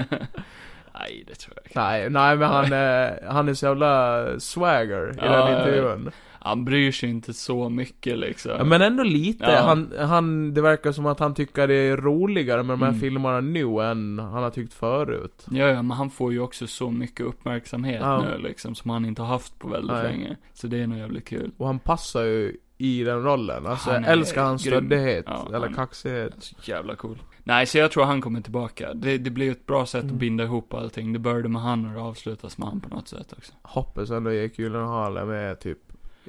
Nej, det tror jag inte. nej, nej men han, är- han är så jävla swagger i Ja, jag den vet. intervjun. Han bryr sig inte så mycket liksom. Ja, men ändå lite. Ja. Han, han, det verkar som att han tycker det är roligare med de här Mm. filmerna nu än han har tyckt förut. Ja, ja, men han får ju också så mycket uppmärksamhet Ja. nu liksom, som han inte har haft på väldigt Nej. länge. Så det är nog jävligt kul. Och han passar ju i den rollen. Alltså Han jag är älskar hans grym. stöddighet, Ja, eller han- kaxighet. Så jävla cool. Nej, så jag tror han kommer tillbaka. Det, det blir ju ett bra sätt Mm. att binda ihop allting. Det började med han och det avslutas med han på något sätt också. Hoppas ändå Jake Gyllenhaal är med typ.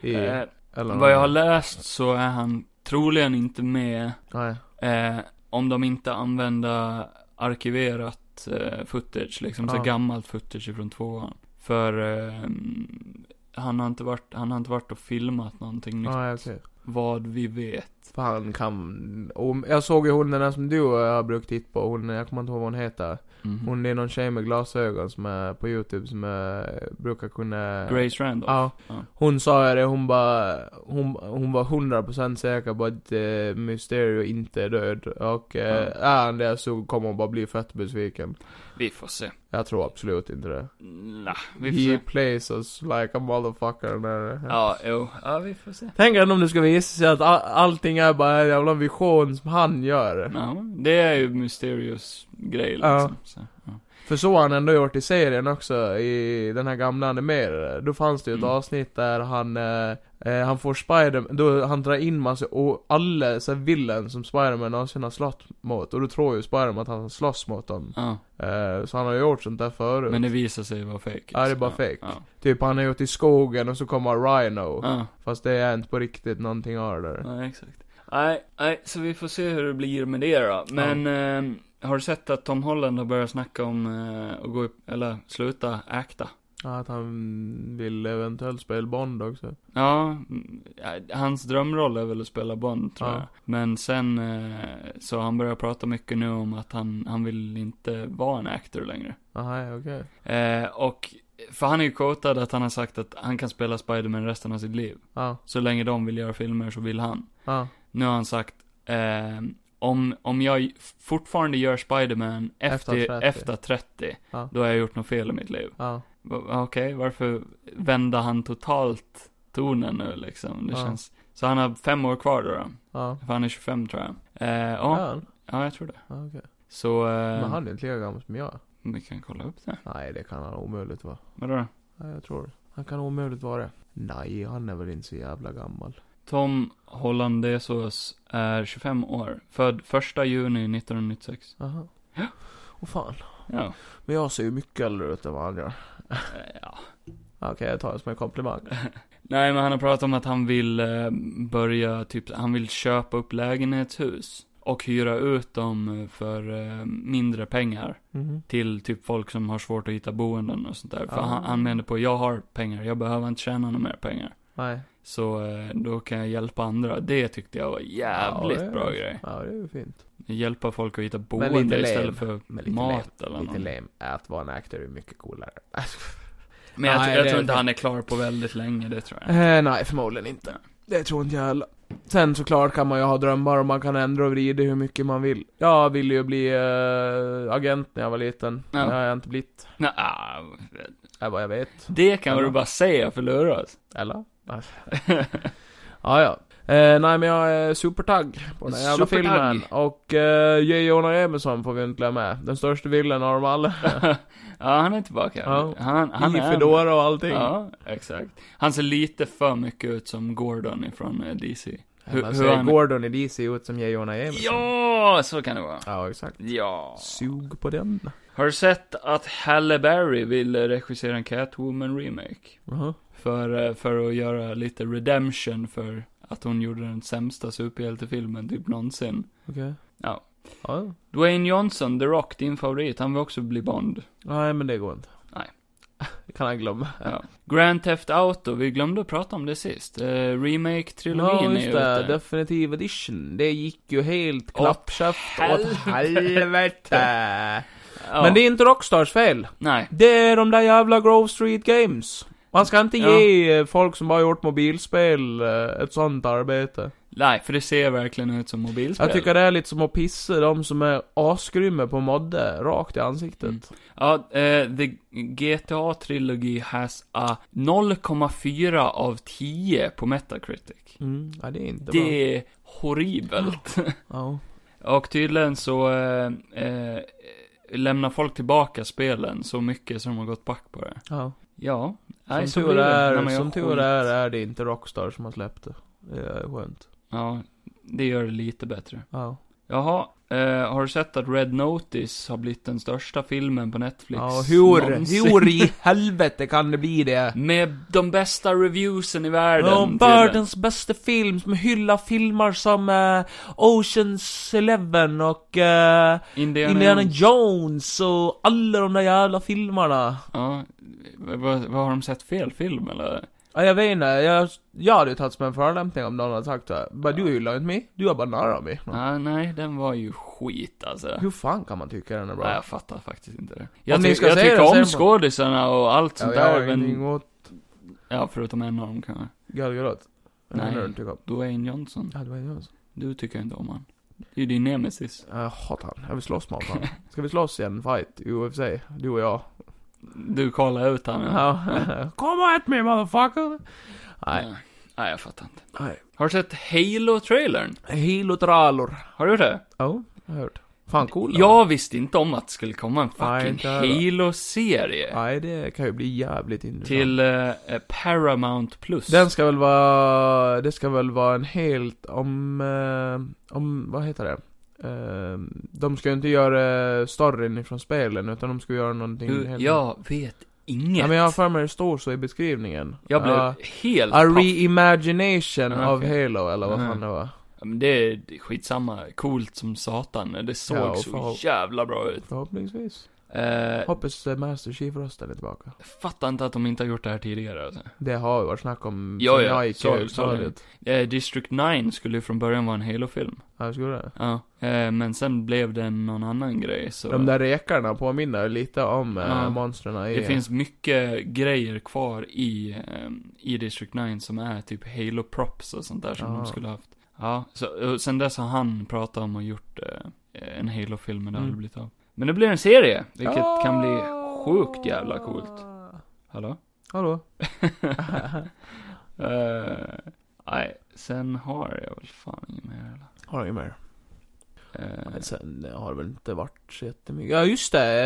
I, Eh, eller vad jag har någon- läst så är han troligen inte med Nej. eh, om de inte använder arkiverat eh, footage, liksom Ja. så gammalt footage från tvåan. För eh, han, har inte varit, han har inte varit och filmat någonting nytt, Nej, okej. vad vi vet. För han kan... Och jag såg ju hon den där som du och jag har brukt titta på. Hon, jag kommer inte ihåg vad hon heter. Mhm. Hon är någon tjej med glasögon som är på youtube som är, brukar kunna... Grace Randolph. Ja. Ja. Hon sa ju det, hon bara, hon, hon var 100% säker på att eh, Mysterio inte är död. Och eh, Ja. är han det så kommer hon bara bli fett besviken. Vi får se. Jag tror absolut inte det. Nah, vi får He se. plays us like a motherfucker. När, Ja, jo. Ja, vi får se. Tänk ändå om det ska visa sig att all, allting är bara en jävla vision som han gör. Ja, det är ju Mysterious grej liksom. Ja. Så, ja. För så har han ändå gjort i serien också, i den här gamla animerade. Då fanns det ju ett Mm. avsnitt där han, eh, eh, han får Spider, då han drar in massa, och alla så här villen som Spiderman någonsin har slått mot. Och då tror ju Spiderman att han slåss mot dem. ja. Eh, så han har ju gjort sånt där förut. Men det visar sig vara fake. Ja, det är bara liksom. fake. Ja. Typ han har gjort i skogen och så kommer Rhino. ja. Fast det är inte på riktigt någonting av det där. Nej, exakt. Nej, nej, så vi får se hur det blir med det då. Men, ehm, har du sett att Tom Holland har börjat snacka om eh, att gå upp, eller sluta acta? Ja, att han vill eventuellt spela Bond också. Ja, mm, eh, hans drömroll är väl att spela Bond tror Ja. jag. Men sen, eh, så han börjar prata mycket nu om att han, han vill inte vara en actor längre. Aha, okej. Eh, och, för han är ju quotad att han har sagt att han kan spela Spiderman resten av sitt liv. Ja, Så länge de vill göra filmer så vill han. ja. Nu har han sagt, ehm, om, om jag fortfarande gör Spiderman Efter efter, 30. efter 30, Ja. då har jag gjort något fel i mitt liv. Ja, Va- Okej, varför vände han totalt tonen nu liksom? Det Ja. känns... Så han har fem år kvar då, då. ja. För han är 25 tror jag. Eh, Ja, ja, han? ja, jag tror det. ja okej. Så, eh, Men han är inte lika gammal som jag. vi kan kolla upp det. Nej, det kan han omöjligt vara. Vadå då? Nej, jag tror det. Han kan omöjligt vara det. Nej, han är väl inte så jävla gammal. Tom Hollandesos är 25 år, född 1 juni 1996. Aha. Ja. Åh fan. Ja, Men jag ser ju mycket äldre ut än vad han gör. eh, ja. Okej, jag tar det som en komplimang. Nej, men han har pratat om att han vill eh, börja, typ, han vill köpa upp lägenhetshus och hyra ut dem eh, för eh, mindre pengar Mhm. till typ folk som har svårt att hitta boenden och sånt där. För Ah. han, han menar på, jag har pengar, jag behöver inte tjäna några mer pengar. Nej. Så eh, då kan jag hjälpa andra. Det tyckte jag var jävligt Ja, det- bra grej. Ja, det är ju fint. Hjälpa folk att hitta lite boende lame. istället för Men lite mat eller Lite något. lame. Att vara en actor är mycket coolare. Men jag, Nej, jag det- tror inte han är klar på väldigt länge, det tror jag. Eh, nej, förmodligen inte. Det tror inte jag heller. Sen såklart kan man ju ha drömmar och man kan ändra och vrida hur mycket man vill. Jag ville ju bli eh, agent när jag var liten. Ja. Det har jag inte blivit. Nej, ah, Det är vad jag vet. det kan Ja. du bara säga för luras. Eller? Nej. ja, ja. Eh, nej men jag är supertagg på den här jävla Supertagg. filmen. Och eh, J. Jonah Jameson får vi inte glömma med. Den största villen av dem alla. ja, han är tillbaka. Ja. Han, han I är Fedora och allting. Ja, exakt. Han ser lite för mycket ut som Gordon ifrån eh, DC. Hur, Hur- Man hur ser han- Gordon i DC ut som J. Jonah Jameson. Ja, så kan det vara. Ja, exakt. Ja. Sug på den. Har du sett att Halle Berry vill eh, regissera en Catwoman-remake? Jaha. För, eh, för att göra lite redemption för att hon gjorde den sämsta superhjältefilmen typ någonsin. Okej. Ja. Ja. Dwayne Johnson, The Rock, din favorit, han vill också bli Bond. Nej, men det går inte. Nej. Det kan han glömma. Ja. Grand Theft Auto, vi glömde att prata om det sist. Eh, Remake-trilogin är just ju det. ute. Definitive edition. Det gick ju helt Åt klappkäft åt helvete. helvete. Ja. Men det är inte Rockstars fel. Nej. Det är de där jävla Grove Street Games. Man ska inte Ja. ge eh, folk som bara gjort mobilspel eh, ett sånt arbete. Nej, för det ser verkligen ut som mobilspel. Jag tycker det är lite som att pissa de som är asgrymma på modde rakt i ansiktet. Mm. Ja, eh, the GTA Trilogy has a 0,4 av 10 på Metacritic. Mm. Ja, det är inte bra. Det är horribelt. Ja. Och tydligen så eh, eh, lämnar folk tillbaka spelen så mycket som de har gått back på det. ja. Ja, Som, nej, så tur blir det. är, Nej, men jag som tur skit. är, är det inte Rockstar som har släppt det. Det är skönt. Ja, det gör det lite bättre. Ja. Jaha, eh, har du sett att Red Notice har blivit den största filmen på Netflix Ja, hur, någonsin? hur i helvete kan det bli det? Med de bästa reviewsen i världen. Ja, tydligen. världens bästa film som hyllar filmer som eh, Oceans Eleven och eh, Indiana, Indiana Jones och alla de där jävla filmerna. Ja, vad, vad vad har de sett fel film eller? Ja, jag vet inte, jag, jag hade ju tagits med en förolämpning om någon hade sagt det. Men du gillar inte mig, du är bara nära mig. Ah, nej, den var ju skit alltså. Hur fan kan man tycka den är bra? Nej, jag fattar faktiskt inte det. Jag, ni ty- ska jag säga det, tycker om säg det. skådisarna och allt Ja, sånt jag har där, men... ingenting åt Ja, förutom en av dem kanske. Gal Gadot. Nej. Nej. Den tycker jag om. Dwayne Johnson. Ja, det var ju Jones. Du tycker inte om han. Det är ju din nemesis. Jag hatar han. Jag vill slåss med honom. Ska vi slåss i en fight? i UFC? Du och jag. Du kollar ut han. ja. Ja. Come at me motherfucker! Nej. Ja. Nej, jag fattar inte. Nej. Har du sett Halo-trailern? Hilotralor. Har du det? Ja, jag har hört. Fan cool. den Jag visste inte om att det skulle komma en Nej, fucking inte jag heller. Halo-serie. var. Nej, det kan ju bli jävligt intressant. Till eh, eh, Paramount Plus. Den ska väl vara, det ska väl vara en helt, om, eh, om, vad heter det? Eh, de ska ju inte göra storyn ifrån spelen, utan de ska göra någonting du, helt jag vet inget. Ja, men jag har för mig det står så i beskrivningen. Jag blev Ja, helt A paff. reimagination Ja, av okej. Halo, eller vad fan Mm. det var. Ja, men det är skitsamma, coolt som satan. Det såg Ja, och så förhop- jävla bra ut. Förhoppningsvis. Eh, Hoppas eh, Master Chief-rösten är tillbaka. fattar inte att de inte har gjort det här tidigare alltså. Det har ju varit snack om Ja, sen ja, jag gick så- i högstadiet. eh, District 9 skulle ju från början vara en Halo-film. Ja, skulle det. Ja, eh, men sen blev det någon annan grej så. De där rekarna påminner ju lite om eh, Ja. monstren i... Det finns mycket grejer kvar i, eh, i District 9 som är typ Halo-props och sånt där som Ja. de skulle haft. Ja, så, och sen dess har han pratat om och gjort eh, en Halo-film, men det har Mm. aldrig blivit av. Men det blir en serie, vilket Ja. kan bli sjukt jävla coolt. Hallå? Hallå? Eh, Nej, sen har jag väl fan inget mer eller? Har inget mer. Eh, Men Sen eh, har det väl inte varit så jättemycket. Ja, just det.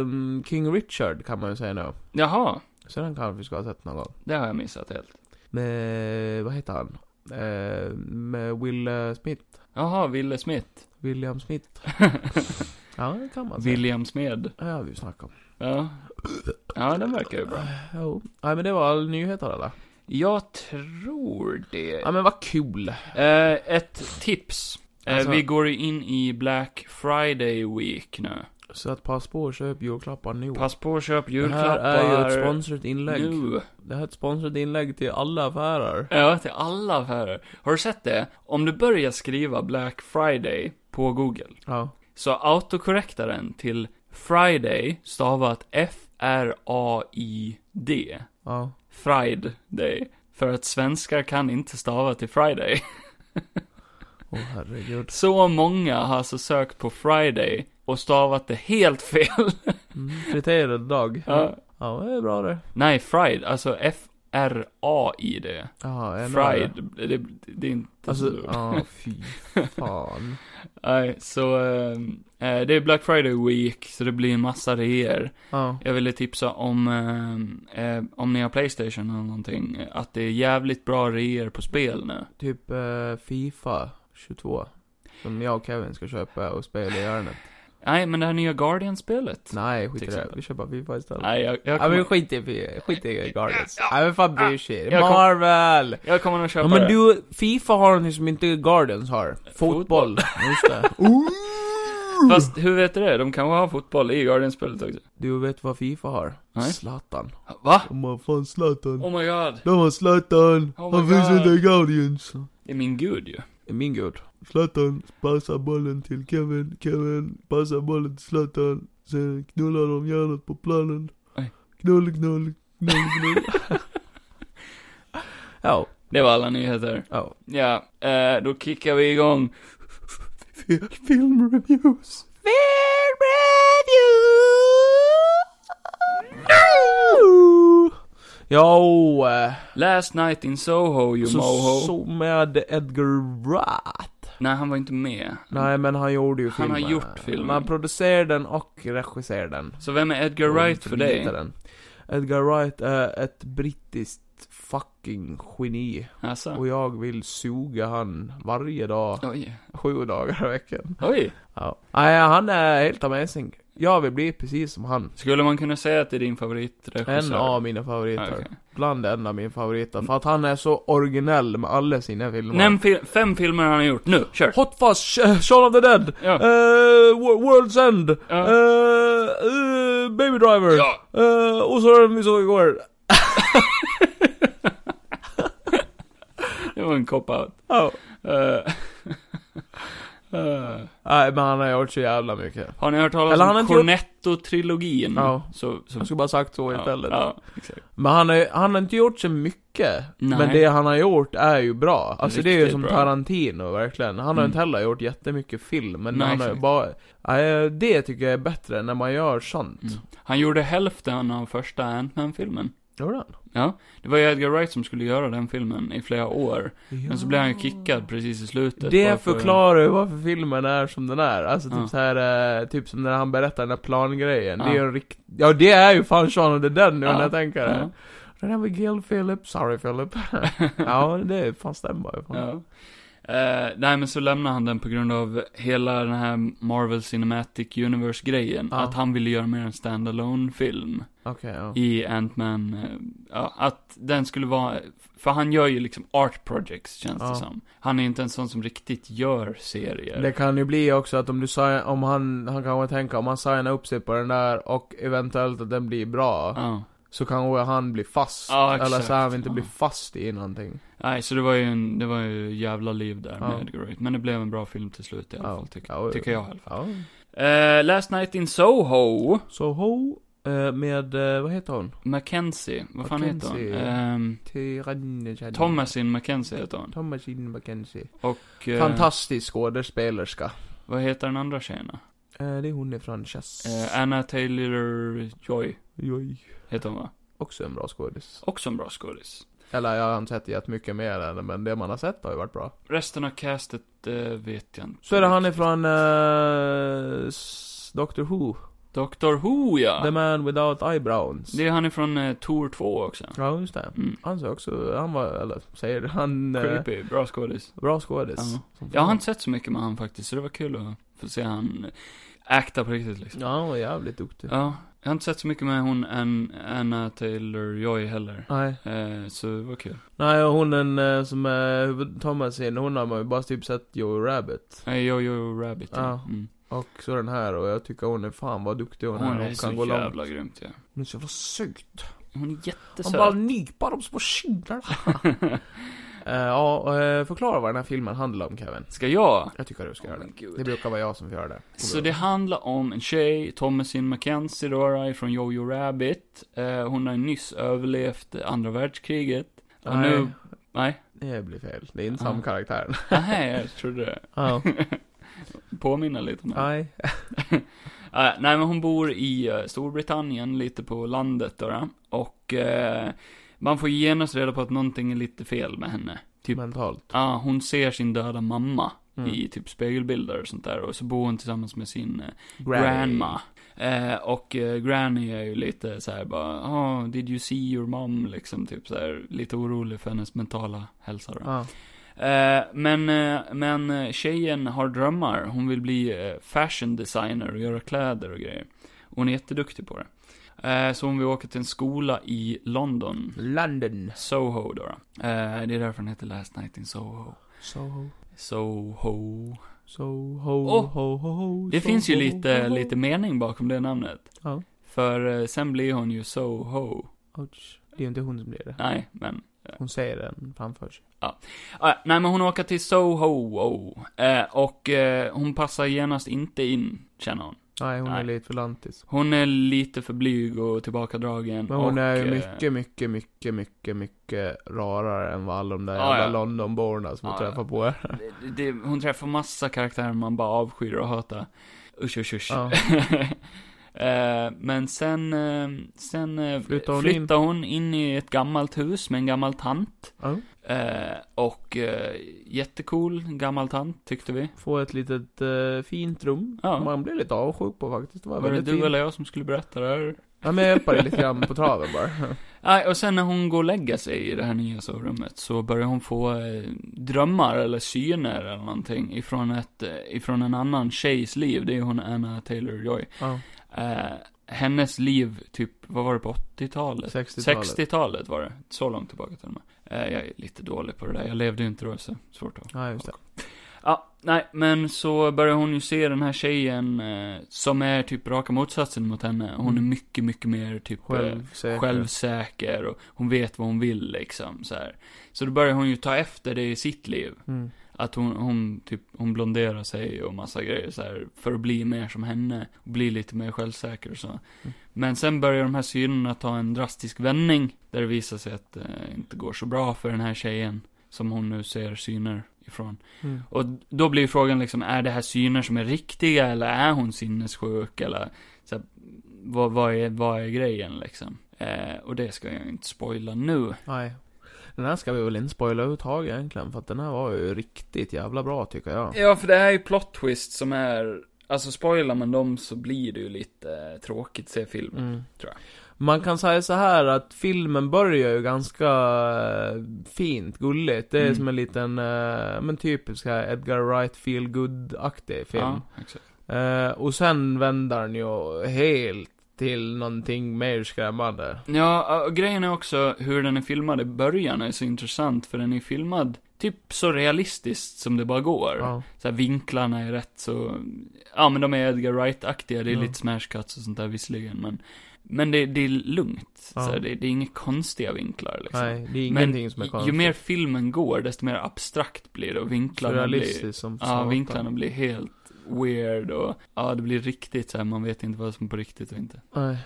Eh, King Richard kan man ju säga nu. jaha, Så den kanske vi ska ha sett någon gång. det har jag missat helt. Med, vad heter han? Eh, med Will eh, Smith. Jaha, Wille Smith. William Smith. Ja, det kan man säga. William Smed. Ja, det har vi ju snackat om. Eh, Ja. Ja, den verkar ju bra. Jo. Nej, men det var all nyheter eller? Jag tror det. Ja, men vad kul. Eh, ett tips. Eh, Alltså- vi går ju in i Black Friday Week nu. Så att passa på och köp julklappar nu. Pass på och köp Oh. det julklappar. här är ju ett sponsrat inlägg. Nu. Det här är ett sponsrat inlägg till alla affärer. Ja, till alla affärer. Har du sett det? Om du börjar skriva Black Friday på Google, Ja. så autokorrektar den till Friday, stavat F-R-A-I-D. Ja. Friday. För att svenskar kan inte stava till Friday. Åh herregud. Så många har alltså sökt på Friday och stavat det helt fel. Mm, friterad dag. Ja. Ja, det är bra det. Nej, Friday, alltså F-R-A-I-D. Ja, en Fried, det, det, det är inte Alltså, så. ja, fy fan. Nej, så ehm, eh, det är Black Friday Week, så det blir en massa reor. Ja. Jag ville tipsa om, ehm, eh, om ni har Playstation eller någonting, eh, att det är jävligt bra reor på spel nu. Typ eh, Fifa 22. Som jag och Kevin ska köpa och spela i hjärnet. Nej, men det här nya Guardian-spelet. Nej, skit Till i det. exempel. Vi köper Fifa istället. Nej, jag, jag, Ja men kommer, skit i, skit i Guardians. Nej men fan bryr sig. Jag kom- Marvel! jag kommer nog köpa Ja men det. du, Fifa har någonting som inte Guardians har. Fotboll. Just det. Fast hur vet du det? De kanske har fotboll i Guardian-spelet också. Du vet vad Fifa har? Nej. Zlatan. Va? De har fan Zlatan. Oh my god. De har Zlatan. Oh my Han finns God. inte i Guardians. Det är min gud ju. Min gud. Zlatan passar bollen till Kevin, Kevin passar bollen till Zlatan. Sen knullar de järnet på planen. Oj. Knull, knull, knull, knull. Ja. Det var alla nyheter. Ja. Ja, eh, då kickar vi igång. Filmreviews. Film review! Jo, eh, Last night in Soho, you så, moho. Alltså, så med Edgar Wright. Nej, han var inte med. Nej men han gjorde ju Han har filmen. gjort filmen. Han producerade den och regisserade den. Så vem är Edgar Och Wright för dig? förlitade Den. Edgar Wright är ett brittiskt fucking geni. Alltså. Och jag vill suga han varje dag, Oj. sju dagar i veckan. Oj. Ja. Nej, han är helt amazing. Jag vill bli precis som han. Skulle man kunna säga att det är din favoritregissör? Ah, En av mina favoriter. Okej. Bland en av mina favoriter. För att han är så originell med alla sina filmer. Nämn fil- fem filmer han har gjort. Nu, kör. Hot Fuzz, Sh- Shaun of the Dead, Ja. eh, Wo- World's End, Ja. eh, eh, Baby Driver. Ja. Eh, och så den vi såg igår. Det var en cop-out. Ja. Eh, eh, Nej, men han har gjort så jävla mycket. har ni hört talas Eller han har om inte gjort- Cornetto-trilogin? Ja. Så, så... Jag skulle bara sagt så istället. Ja, ja, exakt. Men han, är, han har inte gjort så mycket. Nej. Men det han har gjort är ju bra. Alltså det är ju Riktigt som bra. Tarantino verkligen. Han har Mm. inte heller gjort jättemycket film. Men Nej, han har ju exakt. bara... Nej, det tycker jag är bättre när man gör sånt. Mm. Han gjorde hälften av första Ant-Man-filmen. Gjorde han? Det var ju Edgar Wright som skulle göra den filmen i flera år. Men så blev han ju kickad precis i slutet. bara Det för- förklarar ju varför filmen är som den är. Alltså typ Ja. så här, eh, typ som när han berättar den där plangrejen. Det är Ja. ju en rikt... Ja det är ju fan Shaun of the Dead nu Ja. när jag tänker det. Ja. Den här med Gil Philip, sorry Philip. ja, det fan stämmer ju. fan. Ja. Eh, nej men så lämnade han den på grund av hela den här Marvel Cinematic Universe-grejen. Ja. Att han ville göra mer en standalone film Okej, ja. i Ant-Man. eh, ja, att den skulle vara, för han gör ju liksom art projects känns Ja. det som. Han är inte en sån som riktigt gör serier. Det kan ju bli också att om du sign, om han, han kanske tänker om han signar upp sig på den där och eventuellt att den blir bra. Ja. Så kanske han blir fast. Ja, eller exakt. så han inte Ja. blir fast i någonting. Nej, så det var ju en, det var ju jävla liv där Ja. med Edgar Wright. Men det blev en bra film till slut i alla Ja. fall, tycker, Ja, tycker jag i alla fall. Ja. Eh, Last Night in Soho, Så ho, eh, med, eh, vad heter hon? Mackenzie, vad fan Mackenzie. heter hon? Ehm, Tyrann... Thomasin Mackenzie heter hon. Thomasin McKenzie. Och, eh, Fantastisk skådespelerska. vad heter den andra tjejen då? Eh, det är hon ifrån Chess. Eh, Anna Taylor-Joy Joj. heter hon va? Också en bra skådis. Också en bra skådis. Eller jag har inte sett jättemycket mer än men det man har sett har ju varit bra. Resten av castet eh, vet jag inte. Så är det han ifrån eh, s- Doctor Who. Dr. Who ja! The man without eyebrows. Det är han ifrån eh, Tour 2 också. Ja, just det. Mm. Han sa också, han var, eller säger han, eh, Creepy, bra skådis. bra skådis. Ja. Som fan. Jag har inte sett så mycket med han faktiskt, så det var kul att få se han. acta på riktigt liksom. Ja, han var jävligt duktig. Ja. Jag har inte sett så mycket med hon Ann, Anna Taylor-Joy heller. Nej. Eh, så det var kul. Nej, och hon den eh, som är huvudtommelsen, hon har man ju bara typ sett Joe Rabbit. Nej, Jojo Rabbit. Ja. Mm. Och så den här, och jag tycker hon är fan vad duktig hon, Hon, är. är Hon så kan gå långt. jävla grymt ja. Hon är så jävla söt. Hon är Han jättesöt. bara nypar de små kinderna. Eh, Ja, och, eh, förklara vad den här filmen handlar om Kevin. Ska jag? Jag tycker du ska göra det. men gud. Det brukar vara jag som får göra det. Så det handlar om en tjej, Thomasin McKenzie då, ifrån Jojo Rabbit. Eh, hon har nyss överlevt andra världskriget. och Nej, nu- Nej, det blir fel. Det är inte samma Ja. karaktär. nej jag trodde det. Ja. Påminna lite om det. Nej. Eh, nej, men hon bor i eh, Storbritannien, lite på landet då. då. Och eh, man får genast reda på att någonting är lite fel med henne. Typ, Mentalt. ah, hon ser sin döda mamma Mm. i typ spegelbilder och sånt där. Och så bor hon tillsammans med sin eh, grandma. Eh, och eh, granny är ju lite så här bara, ah, did you see your mom? Liksom typ så här, lite orolig för hennes mentala hälsa då. Ja. Eh, men, eh, men eh, tjejen har drömmar. Hon vill bli eh, fashion designer och göra kläder och grejer. Hon är jätteduktig på det. Eh, så hon vill åka till en skola i London. London. Soho då. då. Eh, det är därför den heter Last Night in Soho. Soho. Soho. Soho. Åh, ho, ho, ho, Det finns ju Soho, lite, ho, ho. lite mening bakom det namnet. Ja. För eh, sen blir hon ju Soho. Ouch. Det är ju inte hon som blir det. Nej, men Hon säger den framför sig. Ah, nej, men hon åker till Soho. oh. Eh, och eh, hon passar genast inte in, känner hon. Nej, hon är Nej. lite för lantis. Hon är lite för blyg och tillbakadragen. Men hon och, är ju eh, mycket, mycket, mycket, mycket, mycket rarare än vad alla de där Ja, jävla ja. Londonborna som Ja, hon träffar ja. på här. eh, det- det, hon träffar massa karaktärer man bara avskyr och hatar. Usch, usch, usch. Ja. eh, men sen, eh, sen eh, Flyttar hon flyttar hon in i ett gammalt hus med en gammal tant. Ja. Eh, och eh, jättecool gammal tant, tyckte vi. Få ett litet eh, fint rum. Ja. Man blir lite avundsjuk på faktiskt. Det var, Var det väldigt du fint. eller jag som skulle berätta det här? Ja, men jag hjälper dig lite grann på traven bara. Nej, och sen när hon går och lägger sig i det här nya sovrummet så börjar hon få eh, drömmar eller syner eller någonting ifrån, ett, eh, ifrån en annan tjejs liv. Det är hon Anna Taylor-Joy. Ja, Eh, hennes liv, typ, vad var det på 80-talet? 60-talet. 60-talet var det. Så långt tillbaka till och med. Eh, jag är lite dålig på det där. Jag levde ju inte då, så svårt att... Ja, just det. Ja, nej, men så börjar hon ju se den här tjejen eh, som är typ raka motsatsen mot henne. Hon är Mm. mycket, mycket mer typ... eh, Självsäker. självsäker och hon vet vad hon vill liksom så här. Så då börjar hon ju ta efter det i sitt liv. Mm. Att hon, hon typ, hon blonderar sig och massa grejer så här för att bli mer som henne och bli lite mer självsäker och så. Men sen börjar de här synerna ta en drastisk vändning där det visar sig att det inte går så bra för den här tjejen som hon nu ser syner ifrån. Mm. Och då blir ju frågan liksom, är det här syner som är riktiga eller är hon sinnessjuk eller så här, vad, vad, är, vad är grejen liksom? Eh, och det ska jag inte spoila nu. Nej. Den här ska vi väl inte spoila överhuvudtaget egentligen, för att den här var ju riktigt jävla bra tycker jag. Ja, för det här är ju plot twist som är, alltså spoilar man dem så blir det ju lite tråkigt se filmen. Mm. Tror jag. Man kan säga så här att filmen börjar ju ganska eh, fint, gulligt. Det är Mm. som en liten, eh, men typisk här Edgar Wright feel good aktig film. Ja, exakt. Eh, och sen vänder den ju helt till någonting mer skrämmande. Ja, och grejen är också hur den är filmad i början är så intressant för den är filmad typ så realistiskt som det bara går. Ja. Så här, vinklarna är rätt så, ja men de är Edgar Wright-aktiga, det är Ja. lite smash cuts och sånt där visserligen men, men det, det är lugnt. Ja. Så här, det, det är inga konstiga vinklar liksom. Nej, det är Men ingenting som är konstigt. Ju mer filmen går, desto mer abstrakt blir det och vinklarna blir, realistiskt som ja, satan. vinklarna blir helt weird och, ja det blir riktigt så här, man vet inte vad som är på riktigt och inte. Nej.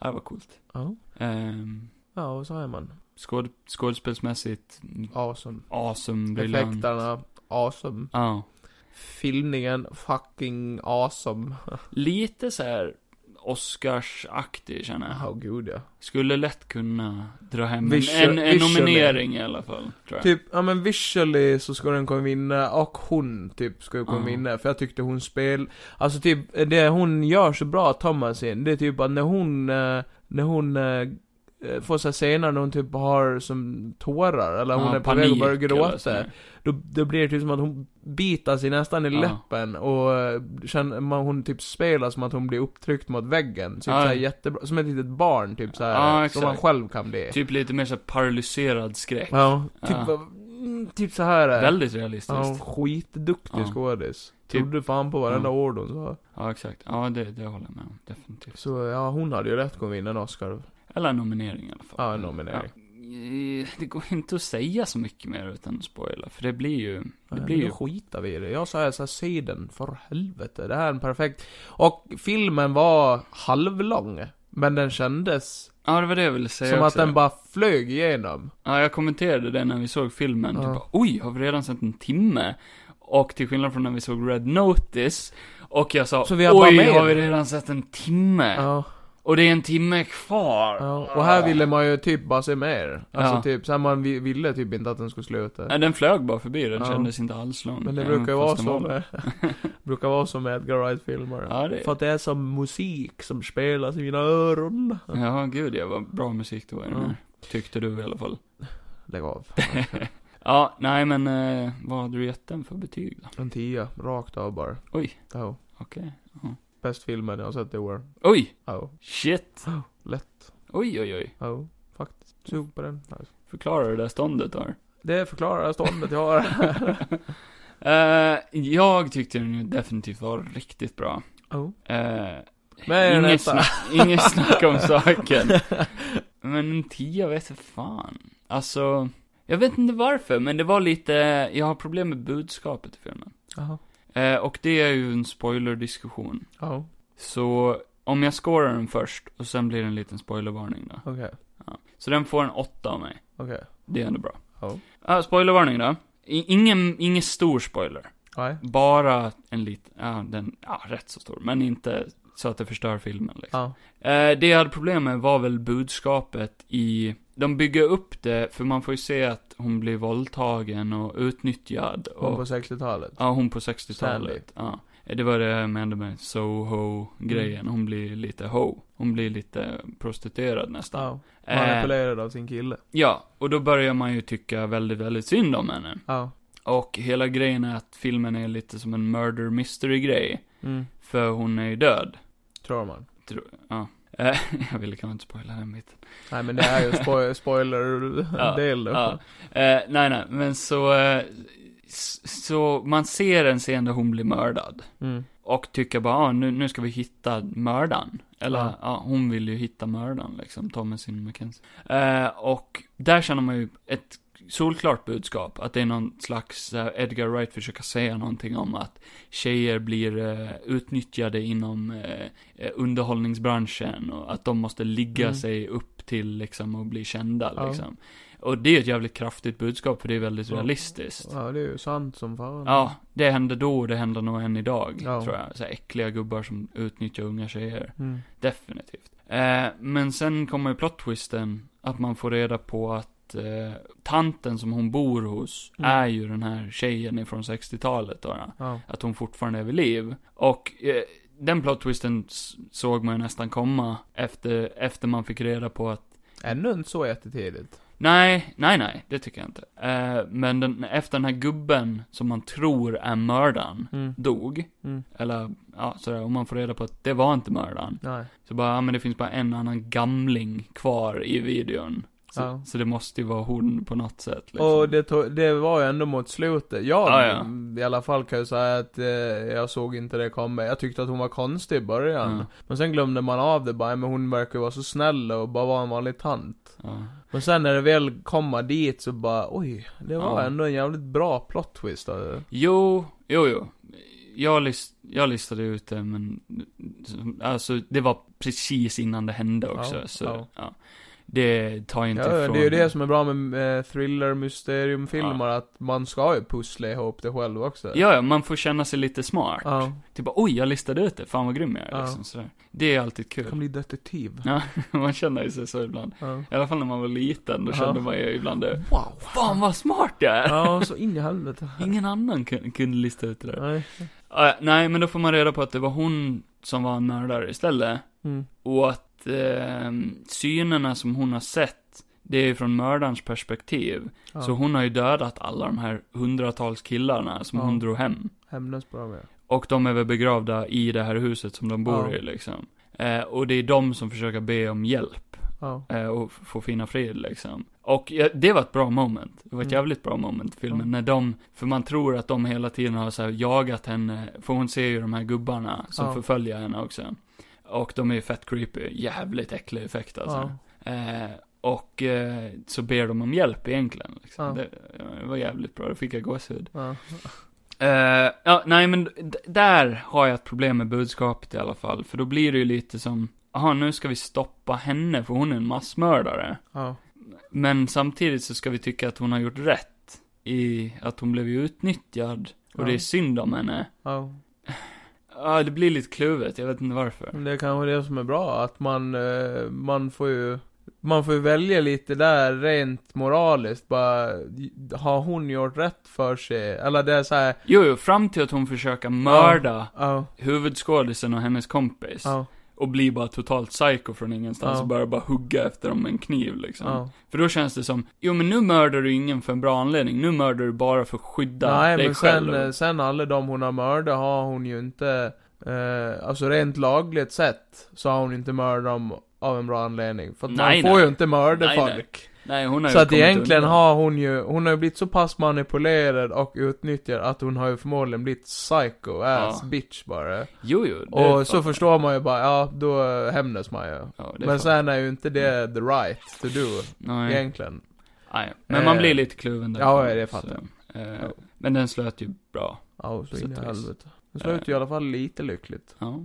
Ja, det var coolt. Ja. Ehm, Ja, och så är man. skåd, skådespelsmässigt, mm, Awesome. awesome, briljant. Effekterna, awesome. Ja. Filmningen, fucking awesome. Lite så här Oscars-aktig känner jag. Ja, gud ja. Skulle lätt kunna dra hem en, Visual- en, en visually. nominering i alla fall, tror jag. Typ, ja men visually så ska den kunna vinna, och hon typ ska ju kunna Ja. vinna, för jag tyckte hon spel... Alltså typ, det hon gör så bra, Thomasin, det är typ att när hon, eh, när hon eh, eh, får sig senare när hon typ har som tårar, eller hon Ja, är på väg att panik börja eller gråta. sådär. Då, då blir det typ som att hon bitar sig nästan i Ja. läppen och eh, känner, man, hon typ spelar som att hon blir upptryckt mot väggen. Typ Ja. såhär jättebra, som ett litet barn typ såhär, Ja, som man exakt. själv kan bli. Typ lite mer såhär paralyserad skräck. Ja, typ, Ja. bara, mm, typ så här. eh. Väldigt Ja, realistiskt. skitduktig Ja. skådis. Typ- Trodde fan på varenda Ja. ord hon sa. Ja, exakt. Ja, det, det håller jag med om. Definitivt. Så ja, hon hade ju rätt att vinna en Oscar. Eller en nominering i alla fall. Ja, en nominering. Ja. Eh, Det går inte att säga så mycket mer utan att spoila, för det blir ju... Det Nej, blir men ju... Då skitar vi i det. Jag sa så här, se den, för helvete. Det här är en perfekt... Och filmen var halvlång. Men den kändes Ja, det var det jag ville säga som att också. den bara flög igenom. Ja, jag kommenterade det när vi såg filmen. Ja. Typ bara, oj, har vi redan sett en timme? Och till skillnad från när vi såg Red Notice, och jag sa, Så vi har bara oj, med har vi den." redan sett en timme? Ja, Och det är en timme kvar. ja. Och här ville man ju typ bara se mer. Alltså Ja. typ, så här, man vi- ville typ inte att den skulle sluta. Nej, den flög bara förbi, den Ja. kändes inte alls lång. Men det även brukar ju vara fast den så var- med, brukar vara så med Edgar Wright-filmer. Ja, det- För att det är som musik som spelas i mina öron. Ja, gud, det var bra musik då i den Ja. här. Tyckte du i alla fall. Lägg av. Ja, nej men, eh, vad hade du gett den för betyg då? En tia, rakt av bara. Oj. Ja. Okej. Bäst filmen jag har sett i år. Oj! Ja. Shit! Lätt. Oj, oj, oj. Ja. Faktiskt. Sug på den. Nice. Förklarar du det där ståndet där? Det förklarar jag ståndet jag har. Eh, jag tyckte den ju definitivt var riktigt bra. Ja. Eh, Men den inget, etta. snack, inget snack om saken. Men en tia vet jag fan. Alltså, jag vet inte varför, men det var lite, jag har problem med budskapet i filmen. Jaha. Eh, och det är ju en spoilerdiskussion. Ja. Så, om jag scorar den först, och sen blir det en liten spoilervarning då. Okej. Så den får en åtta av mig. Okej. Det är ändå bra. Ja. Ah, spoilervarning då. I, ingen, ingen stor spoiler. Nej. Bara en liten, ja den, ja rätt så stor, men inte så att det förstör filmen liksom. Ja. Eh, det jag hade problem med var väl budskapet i, de bygger upp det, för man får ju se att hon blir våldtagen och utnyttjad. Hon Och, på 60-talet. ja, hon på 60-talet. Ja. Eh, Det var det jag menade med Soho-grejen, Mm. hon blir lite ho. Hon blir lite prostituerad nästan. Ja. eh, Manipulerad av sin kille. ja, och då börjar man ju tycka väldigt, väldigt synd om henne. Ja. Och hela grejen är att filmen är lite som en murder mystery-grej. Mm. För hon är ju död. Tror man. Tror, ja. Eh, jag ville kanske inte spoila den biten. Nej men det är ju spoil- Ja, spoiler-del då. Ja. Eh, nej, nej, men så... Eh, s- så man ser en scen där hon blir mördad. Mm. Och tycker bara, ah, nu, nu ska vi hitta mördaren. Eller, Ja. ja, hon vill ju hitta mördaren liksom, Thomasin McKenzie. Eh, och där känner man ju ett solklart budskap. Att det är någon slags, eh, Edgar Wright försöker säga någonting om att tjejer blir eh, utnyttjade inom eh, eh, underhållningsbranschen. Och att de måste ligga Mm. sig upp till liksom och bli kända Ja. liksom. Och det är ett jävligt kraftigt budskap för det är väldigt Ja. realistiskt. Ja, det är ju sant som fan. Ja, det hände då och det händer nog än idag, Ja. tror jag. Så här äckliga gubbar som utnyttjar unga tjejer. Mm. Definitivt. Eh, men sen kommer ju plot-twisten, att man får reda på att eh, tanten som hon bor hos Mm. är ju den här tjejen ifrån 60-talet då. ja. Ja. Att hon fortfarande är vid liv. Och eh, den plot-twisten s- såg man ju nästan komma efter, efter man fick reda på att Ännu inte så jättetidigt. Nej, nej, nej, det tycker jag inte. Eh, men den, efter den här gubben som man tror är mördaren, Mm. dog. Mm. Eller, ja, sådär, om man får reda på att det var inte mördaren. Nej. Så bara, ja men det finns bara en annan gamling kvar i videon. Så, Ja. så det måste ju vara hon på något sätt liksom. Ah, Och det, to- det var ju ändå mot slutet. Jag Ja, ja. i alla fall kan jag säga att eh, jag såg inte det komma. Jag tyckte att hon var konstig i början. Ja. Men sen glömde man av det bara, men hon verkar ju vara så snäll och bara vara en vanlig tant. Ja. Men sen när det väl kommer dit så bara, oj, det var Ja. ändå en jävligt bra plot twist. alltså. Jo, jo, jo. Jag, list, jag listade ut det, men alltså det var precis innan det hände också. Ja, så, ja. ja. Det tar jag inte Ja, ifrån. det är ju det som är bra med eh, thriller, mysteriumfilmer, att man ska ju pussla ihop det själv också. Ja, ja, man får känna sig lite smart. Ja. Typ bara, oj, jag listade ut det, fan vad grym jag är, Ja. liksom, sådär. Det är alltid kul. Jag kan bli detektiv. Ja, man känner ju sig så ibland. Ja. I alla fall när man var liten, då Ja. kände man ju ibland det. Wow. Fan vad smart jag är! Ja, så in i helvete. Ingen annan kun- kunde lista ut det där. Nej. Ah, nej, men då får man reda på att det var hon som var mördare istället. Mm. Och att eh, synerna som hon har sett, det är ju från mördarens perspektiv. Ja. Så hon har ju dödat alla de här hundratals killarna som Ja. hon drog hem. Hämnas på dem ja. Och de är väl begravda i det här huset som de bor Ja. i liksom. Eh, och det är de som försöker be om hjälp Ja. eh, och f- få finna fred liksom. Och ja, det var ett bra moment. Det var ett Mm. jävligt bra moment i filmen. Ja. När de, för man tror att de hela tiden har så här jagat henne. För hon ser ju de här gubbarna som Ja. förföljer henne också. Och de är ju fett creepy. Jävligt äcklig effekt alltså. ja. Eh, och eh, så ber de om hjälp egentligen. Liksom. Ja. Det, det var jävligt bra, då fick jag gåshud. ja. Eh, ja, nej men d- där har jag ett problem med budskapet i alla fall. För då blir det ju lite som, jaha nu ska vi stoppa henne för hon är en massmördare. ja. Men samtidigt så ska vi tycka att hon har gjort rätt i att hon blev ju utnyttjad. Och Ja. det är synd om henne. ja. Ja, det blir lite kluvet, jag vet inte varför. Men Det är kanske det som är bra, att man, eh, man får ju man får ju välja lite där rent moraliskt bara, har hon gjort rätt för sig? Eller det är såhär, Jo, jo, fram till att hon försöker mörda ja, huvudskådisen och hennes kompis. ja, och blir bara totalt psycho från ingenstans Ja. och börjar bara hugga efter dem med en kniv liksom. ja. För då känns det som, jo men nu mördar du ingen för en bra anledning, nu mördar du bara för att skydda Nej dig men sen, själv. eh, sen alla de hon har mördat har hon ju inte, eh, alltså rent lagligt sett, så har hon inte mördat dem av en bra anledning. För att Nej, man får nej. ju inte mörda Nej, nej. folk. Nej, hon har Så ju att kommit egentligen undan. har hon ju, hon har ju blivit så pass manipulerad och utnyttjad att hon har ju förmodligen blivit psycho ass Ja. bitch bara. Jo, jo. det Och så fattar förstår man ju bara, ja då hämnas man ju. jag. Ja, det Men fattar jag. sen är ju inte det the right to do, Nej, egentligen. nej. Ah, Men man Eh, blir lite kluven där. ja, det fattar Så, eh, Ja. Men den slöt ju bra. Ja, så Så in i att- helvete. Det slutar ju i alla fall lite lyckligt. Ja.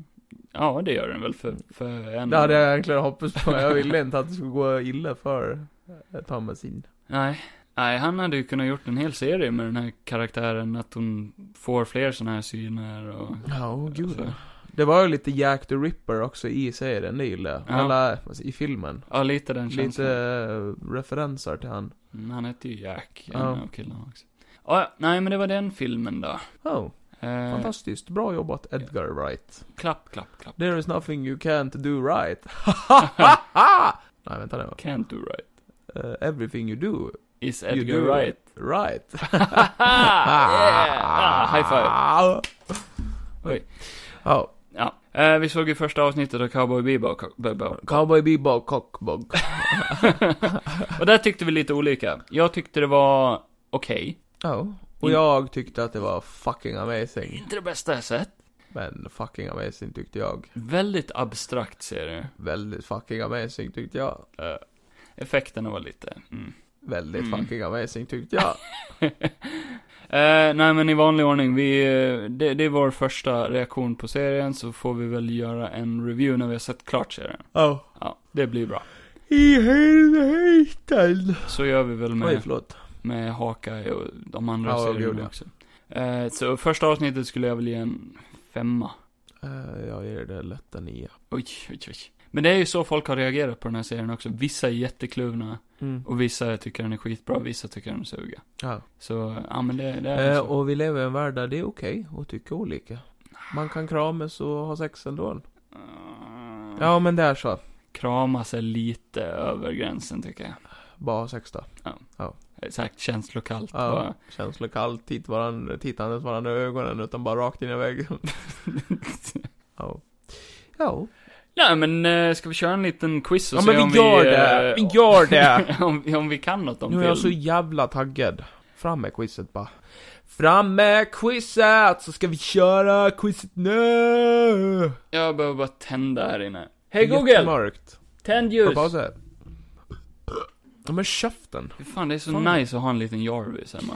Ja, det gör den väl för, för en... Det hade jag egentligen hoppats på, jag ville inte att det skulle gå illa för eh, Thomas in. Nej. Nej, han hade ju kunnat gjort en hel serie med den här karaktären, att hon får fler sådana här syner och... Ja, oh, gud. Så. Det var ju lite Jack the Ripper också i serien, det gillade jag. Ja. Eller, alltså, i filmen. Ja, lite den Lite känslan. eh, referenser till han. Mm, Han hette ju Jack, en Ja. av killarna också. Ah, ja, nej men det var den filmen då. Oh, Eh, fantastiskt. Bra jobbat Edgar Wright. klapp, klapp, klapp. There is nothing you can't do right. Nej, vänta nu. Can't do right. Eh, everything you do, Is You Edgar do right? right. yeah! Ah, high five. Oj. Ja, Ja. Eh, vi såg ju första avsnittet av Cowboy Bebop. Bebop. Cowboy Bebop Cockbog. Och där tyckte vi lite olika. Jag tyckte det var okej. Ja. Oh. Och jag tyckte att det var fucking amazing. Inte det bästa jag sett. Men fucking amazing tyckte jag. Väldigt abstrakt serie. Väldigt fucking amazing tyckte jag. Eh, effekterna var lite... Mm. Väldigt Mm. fucking amazing tyckte jag. Eh, nej men i vanlig ordning, vi, eh, det, det är vår första reaktion på serien, så får vi väl göra en review när vi har sett klart serien. Oh. Ja, det blir bra. I helvete. Så gör vi väl Oj, med, förlåt. med Hawkeye och de andra Ja, gud, serierna ja. också. Eh, så första avsnittet skulle jag väl ge en femma. Eh, jag ger det lätt en nia. Oj, oj, oj. Men det är ju så folk har reagerat på den här serien också. Vissa är jättekluvna och vissa tycker den är skitbra, vissa tycker den suger. Ja. Så, ja men det, det är Eh, så. och vi lever i en värld där det är okej att tycka olika. Man kan kramas och ha sex ändå. Eh, Ja, men det är så. Krama sig lite över gränsen tycker jag. Bara ha sex då. Exakt, känslokallt. Ja. Bara. Känslor kallt, titt varandra, tittandes varandra i ögonen utan bara rakt in i väggen. ja. Ja. Nej men, eh, ska vi köra en liten quiz och Ja, se men vi om gör vi, det. eh, Vi gör det. om, om vi kan något om Nu är film. jag så jävla taggad. Fram med quizet bara. Fram med quizet så ska vi köra quizet nu! Jag behöver bara tända här inne. Hej Google! Jättemörkt. Tänd Får jag ljus! pausa? Ja men käften. Fy Fan, det är så Fan. nice att ha en liten Jarvis hemma.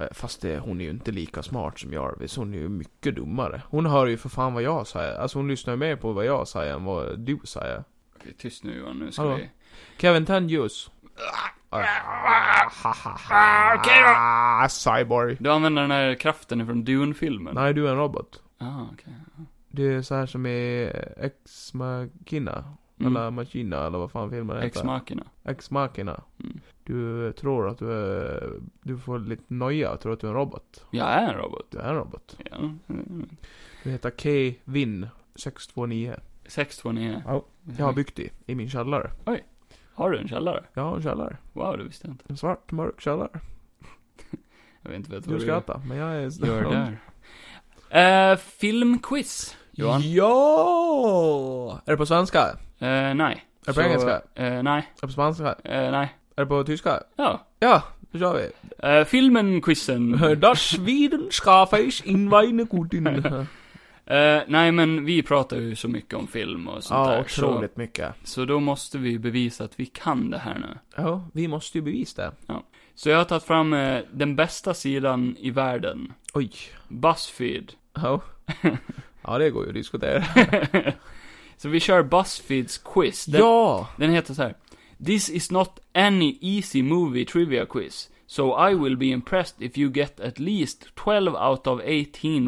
Eh, Fast det, hon är ju inte lika smart som Jarvis, hon är ju mycket dummare. Hon hör ju för fan vad jag säger, alltså hon lyssnar ju mer på vad jag säger än vad du säger. Okej, tyst nu Johan, nu ska Hallå. vi... Kevin, tänd ljus. Ah, Okej då! Ah, Cyborg. Du använder den här kraften ifrån Dune-filmen? Nej, du är en robot. Ah, okej. Det är så här som i eh, Ex Machina. Mm. Eller Machina, eller vad fan filmen heter. ex machina Ex Machina. Mm. Du tror att du är... Du får lite noja och tror att du är en robot. Jag är en robot. Du är en robot. Ja. Mm. Du heter Kevin 629. 629? Ja, Jag har Mm. byggt det i min källare. Har du en källare? Jag har en källare. Wow, det visste jag inte. En svart, mörk källare. Jag vet inte vet Du vad du skrattar, men jag är... gör där. Eh, filmquiz, Johan. Ja! Är det på svenska? Är Eh, nej. det på engelska? Är Eh, nej. det på spanska? Är Eh, nej. det på tyska? Ja. Ja, då kör vi. Eh, filmen-quizen. Das Sweden Schaface in Weine Gutin. Ja, Eh, nej, men vi pratar ju så mycket om film och sånt där. Så, otroligt mycket. så då måste vi bevisa att vi kan det här nu. Ja, vi måste ju bevisa det. Så jag har tagit fram eh, den bästa sidan i världen. Oj. Buzzfeed. Ja. Ja, det går ju att diskutera. så vi kör Buzzfeeds quiz. Den, Ja! den heter så här. This is not any easy movie trivia quiz. So I will be impressed if you get at least 12 out of 18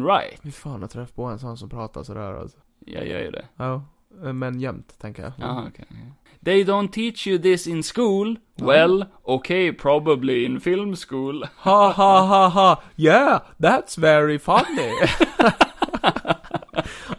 right. Hur fan har träffat på en sån som pratar sådär alltså. Jag gör ju det. Ja. eh, Men jämt, tänker jag. Jaha, okej. They don't teach you this in school. Well, okay, probably in film school. Ha ha ha ha! Yeah, that's very funny!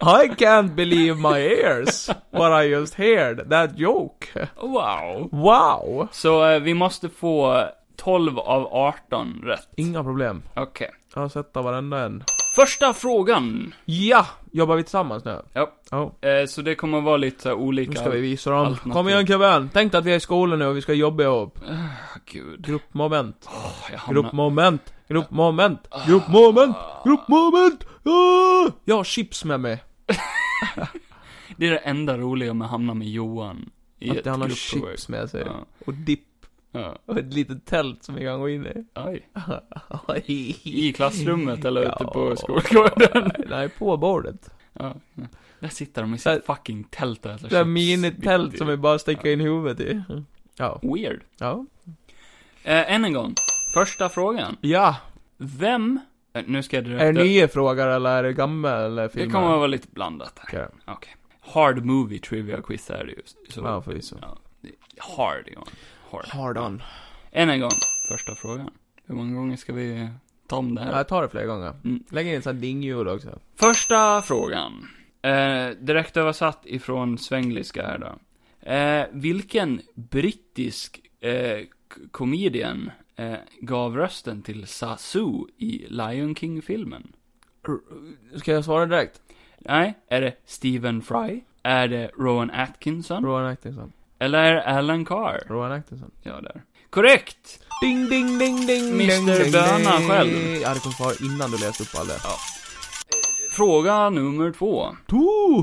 I can't believe my ears, what I just heard, that joke. Wow. Wow! Så eh, vi måste få 12 av 18 rätt. Inga problem. Okej. Jag har sett av varenda en. Första frågan. Ja! Jobbar vi tillsammans nu? Ja. Ja. Eh, så det kommer vara lite så här olika. Nu ska vi visa dem. Alternativ. Kom igen Kevin! Tänk dig att vi är i skolan nu och vi ska jobba ihop. Ah, Gud. Gruppmoment. Oh, jag hamnar... Gruppmoment. Gruppmoment. Ah. Gruppmoment. Gruppmoment. Ah! Jag har chips med mig. Det är det enda roliga med att hamna med Johan. I Att ett han har gruppprojekt. chips med sig. Ja. Och dipp. ja. Och ett litet tält som vi kan gå in i. Oj. Oj. I klassrummet eller ute på Ja. skolgården. Nej, på bordet. Ja. Där sitter de i Där- sitt fucking tält och äter Det där chips. minitält som vi bara sticker in huvudet i. Ja. Weird. Ja. Eh, än en gång. Första frågan. Ja. Vem... eh, Nu ska jag direkt... Är det nya frågor eller är det gamla eller filmer? det kommer att vara lite blandat här. Okej. Hard movie trivia quiz är det ju. Så, Ja, förvisso. Ja, det- hard, Johan. Hard. Hard on. Än en gång. Första frågan. Hur många gånger ska vi ta om det här? Ja, jag tar det flera gånger. Mm. Lägg in ett sånt här dingljud också. Första frågan. Eh, direkt översatt ifrån svengliska här då. Eh, vilken brittisk eh, k- comedian eh, gav rösten till Sasu i Lion King-filmen? Ska jag svara direkt? Nej, är det Stephen Fry? Är det Rowan Atkinson? Rowan Atkinson. Eller är det Alan Carr? Rowan Atkinson. Ja, där. Korrekt! Ding, ding, ding, ding, Mr. ding, ding, Böna ding. själv. Ja, det kom svara innan du läste upp all det. Fråga nummer två. To!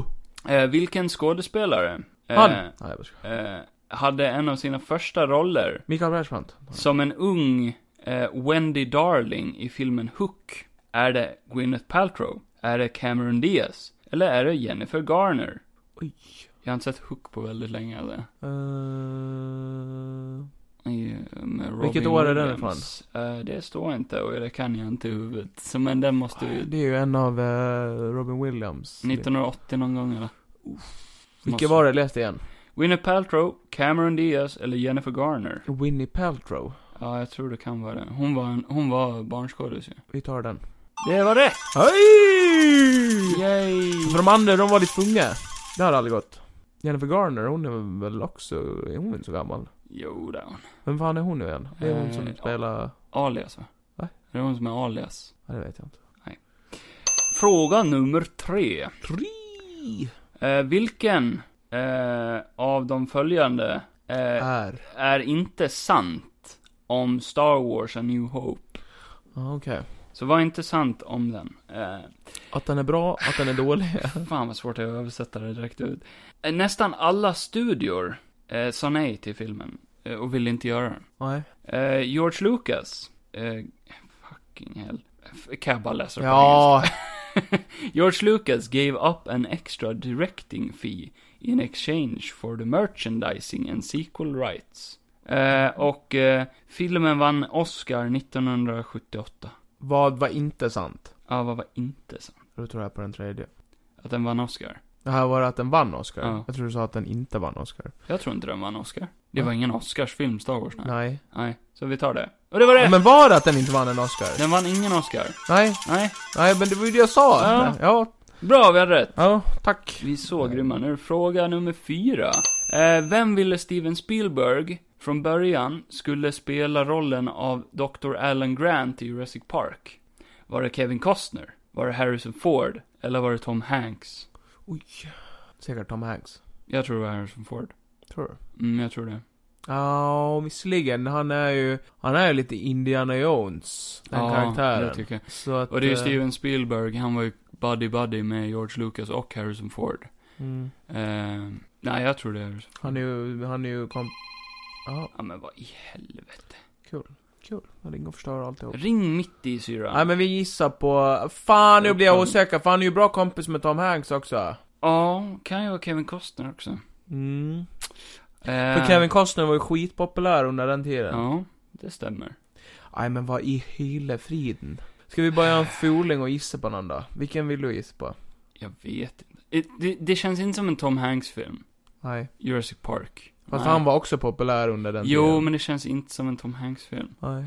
Eh, vilken skådespelare? eh, Han! Nej, jag bara skojar. eh, hade en av sina första roller Mikael Persbrandt. Som en ung eh, Wendy Darling i filmen Hook. Är det Gwyneth Paltrow? Är det Cameron Diaz? Eller är det Jennifer Garner? Oj. Jag har inte sett Hook på väldigt länge. Eller? Uh, I, med Robin Vilket år är den Williams. Eh, det står inte och det kan jag inte i huvudet. Så, men den måste ju... det är ju en av eh, Robin Williams. 1980 någon gång eller? Vilka var det jag läste igen? Gwyneth Paltrow, Cameron Diaz eller Jennifer Garner? Winnie Paltrow. Ja, jag tror det kan vara den. Hon var, en, hon var barnskådis ju. Vi tar den. Det var rätt! Hej! Yay! För de andra, de var lite unga. Det hade aldrig gått. Jennifer Garner, hon är väl också, är hon inte så gammal? Jo, då. Vem fan är hon nu igen? Det är hon Eh, som spelar, Alias va? Va? Det är hon som är alias. ja det vet jag inte. Fråga nummer tre. Tri! Eh, vilken eh, av de följande eh, Är. är inte sant om Star Wars A New Hope? Ja, Okej. Så var inte sant om den. Eh, Att den är bra, att den är dålig. fan vad svårt det är att översätta det direkt ut. Eh, nästan alla studior eh, sa nej till filmen eh, och ville inte göra den. Nej. Eh, George Lucas, eh, fucking hell. F- Kan jag bara läsa det på engelska? Ja. George Lucas gave up an extra directing fee in exchange for the merchandising and sequel rights. Eh, och eh, filmen vann Oscar 1978. Vad var inte sant? Ja, vad var inte sant? Då tror jag på den tredje. Att den vann Oscar? Det här var att den vann Oscar. Ja. Jag tror du sa att den inte vann Oscar. Jag tror inte den vann Oscar. Det Va? var ingen Oscarsfilm, Star Wars. Nej. Nej. nej. Så vi tar det. Och det var det! Men var det att den inte vann en Oscar? Den vann ingen Oscar. Nej. Nej. Nej, men det var ju det jag sa. Ja. Ja. Bra, vi hade rätt. Ja, tack. Vi är så grymma. Nu är det fråga nummer fyra. Eh, vem ville Steven Spielberg från början skulle spela rollen av Dr. Alan Grant i Jurassic Park? Var det Kevin Costner? Var det Harrison Ford? Eller var det Tom Hanks? Oj. Säkert Tom Hanks. Jag tror det var Harrison Ford. Tror du? Mm, jag tror det. Ja, visserligen. Han är ju, han är ju lite Indiana Jones, den Ja, karaktären. det tycker jag. Så att, Och det är ju eh, Steven Spielberg, han var ju buddy-buddy med George Lucas och Harrison Ford. Mm. Eh, nej, jag tror det är Harrison Ford. Han är ju, han är ju kom... Ja, Ja, men vad i helvete. han ringer och förstör alltihop. Ring mitt i syran. Nej men vi gissar på... Fan nu blir jag osäker, för han är ju bra kompis med Tom Hanks också. Ja, kan ju vara Kevin Costner också. Mm. Eh, För Kevin Costner var ju skitpopulär under den tiden. Ja, det stämmer. Nej men vad i hela friden. Ska vi bara göra en fuling och gissa på någon då? Vilken vill du gissa på? Jag vet inte. Det, det, det känns inte som en Tom Hanks-film. Nej. Jurassic Park. Fast Nej. han var också populär under den tiden. Jo, men det känns inte som en Tom Hanks-film. Nej.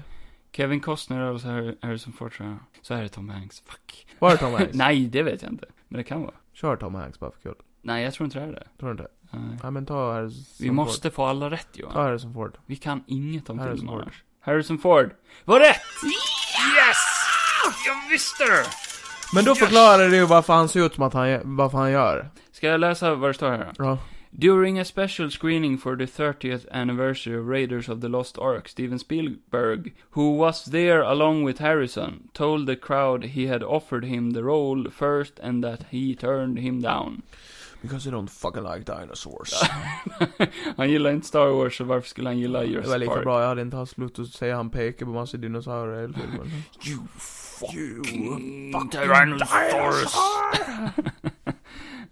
Kevin Costner och så Har- Harrison Ford tror jag. Så är det Tom Hanks. Fuck. Var det Tom Hanks? Nej, det vet jag inte. Men det kan vara. Kör Tom Hanks bara för kul. Nej, jag tror inte det är det. Tror du inte? Nej. Nej men ta Harrison Vi måste få alla rätt Ford. Johan. Ta Harrison Ford. Vi kan inget om Harrison film Ford. annars. Harrison Ford. Var rätt! Yes! Jag visste det! Men då Yes! förklarar du ju varför han ser ut som att han, varför han gör. Ska jag läsa vad det står här då? Ja. During a special screening for the 30th anniversary of Raiders of the Lost Ark, Steven Spielberg, who was there along with Harrison, told the crowd he had offered him the role first and that he turned him down. Because they don't fucking like dinosaurs. han gillar inte Star Wars, så varför skulle han gilla det var Jurassic lika Park? bra, jag hade inte haft slut att säga han pekar på massa dinosaurier hela filmen. You fucking, fucking dinosaurs!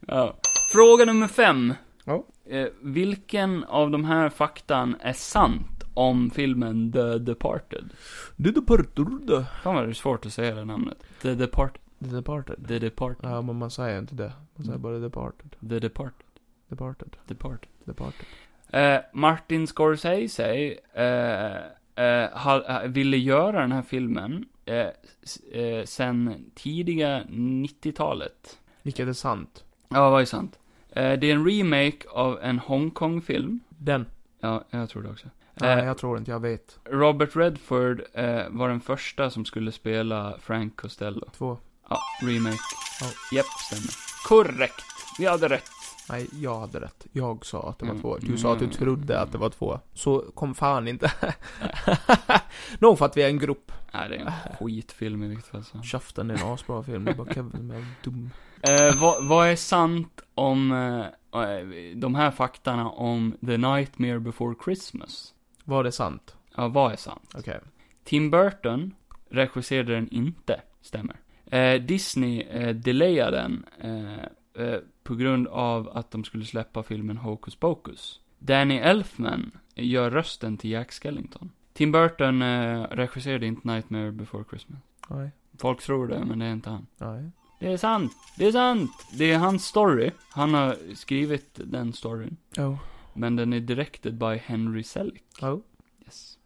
ja. Fråga nummer fem. Ja. Eh, vilken av de här faktan är sant om filmen The Departed? The Departed. Fan vad det är svårt att säga det namnet. The Departed. The Departed. The Departed. Ja, men man säger inte det. Man Mm. säger bara Departed. The Departed. Departed. Departed. Departed. Eh, Martin Scorsese eh, eh, ha, eh, ville göra den här filmen eh, s- eh, sen tidiga 90-talet. Vilket är sant. Ja, vad är sant? Eh, det är en remake av en Hongkong-film. Den. Ja, jag tror det också. Nej, Eh, jag tror inte, jag vet. Robert Redford eh, var den första som skulle spela Frank Costello. Två. Ja, remake. Ja. Japp, stämmer. Korrekt. Vi hade rätt. Nej, jag hade rätt. Jag sa att det var Mm. två. Du sa att du Mm. trodde att det var två. Så kom fan inte. Nog för att vi är en grupp. Nej, det är en skitfilm i vilket fall som. Käften är en asbra film. Det är bara Kevin som är dum. Eh, vad, vad är sant om eh, eh, de här faktarna om The Nightmare Before Christmas? Var det sant? Ja, vad är sant? Okej. Tim Burton regisserade den inte, stämmer. Eh, Disney eh, delayade den eh, eh, på grund av att de skulle släppa filmen Hocus Pocus. Danny Elfman gör rösten till Jack Skellington. Tim Burton eh, regisserade inte Nightmare Before Christmas. Nej. Folk tror det, men det är inte han. Nej. Det är sant, det är sant! Det är hans story. Han har skrivit den storyn. Oh. Men den är directed by Henry Selick. Oh. Yes.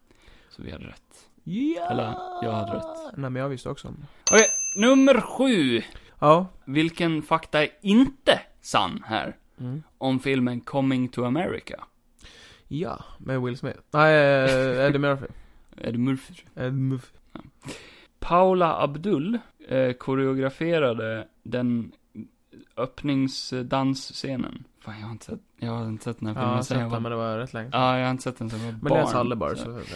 Så vi hade rätt. Yeah. Eller, jag hade rätt. Nej, men jag visste också. Okej, nummer sju. Ja. Vilken fakta är inte sann här? Mm. Om filmen Coming to America? Ja, med Will Smith. Nej, eh, Eddie Murphy. Är det Murphy? Eddie Murphy. Paula Abdul eh, koreograferade den öppningsdansscenen. Fan, jag har inte sett, jag har inte sett den här Ja, filmen jag har sen jag sett den, var... men det var rätt länge Ja, jag har inte sett den sen jag var Men barn. det är Sallebar, så- så... så- så-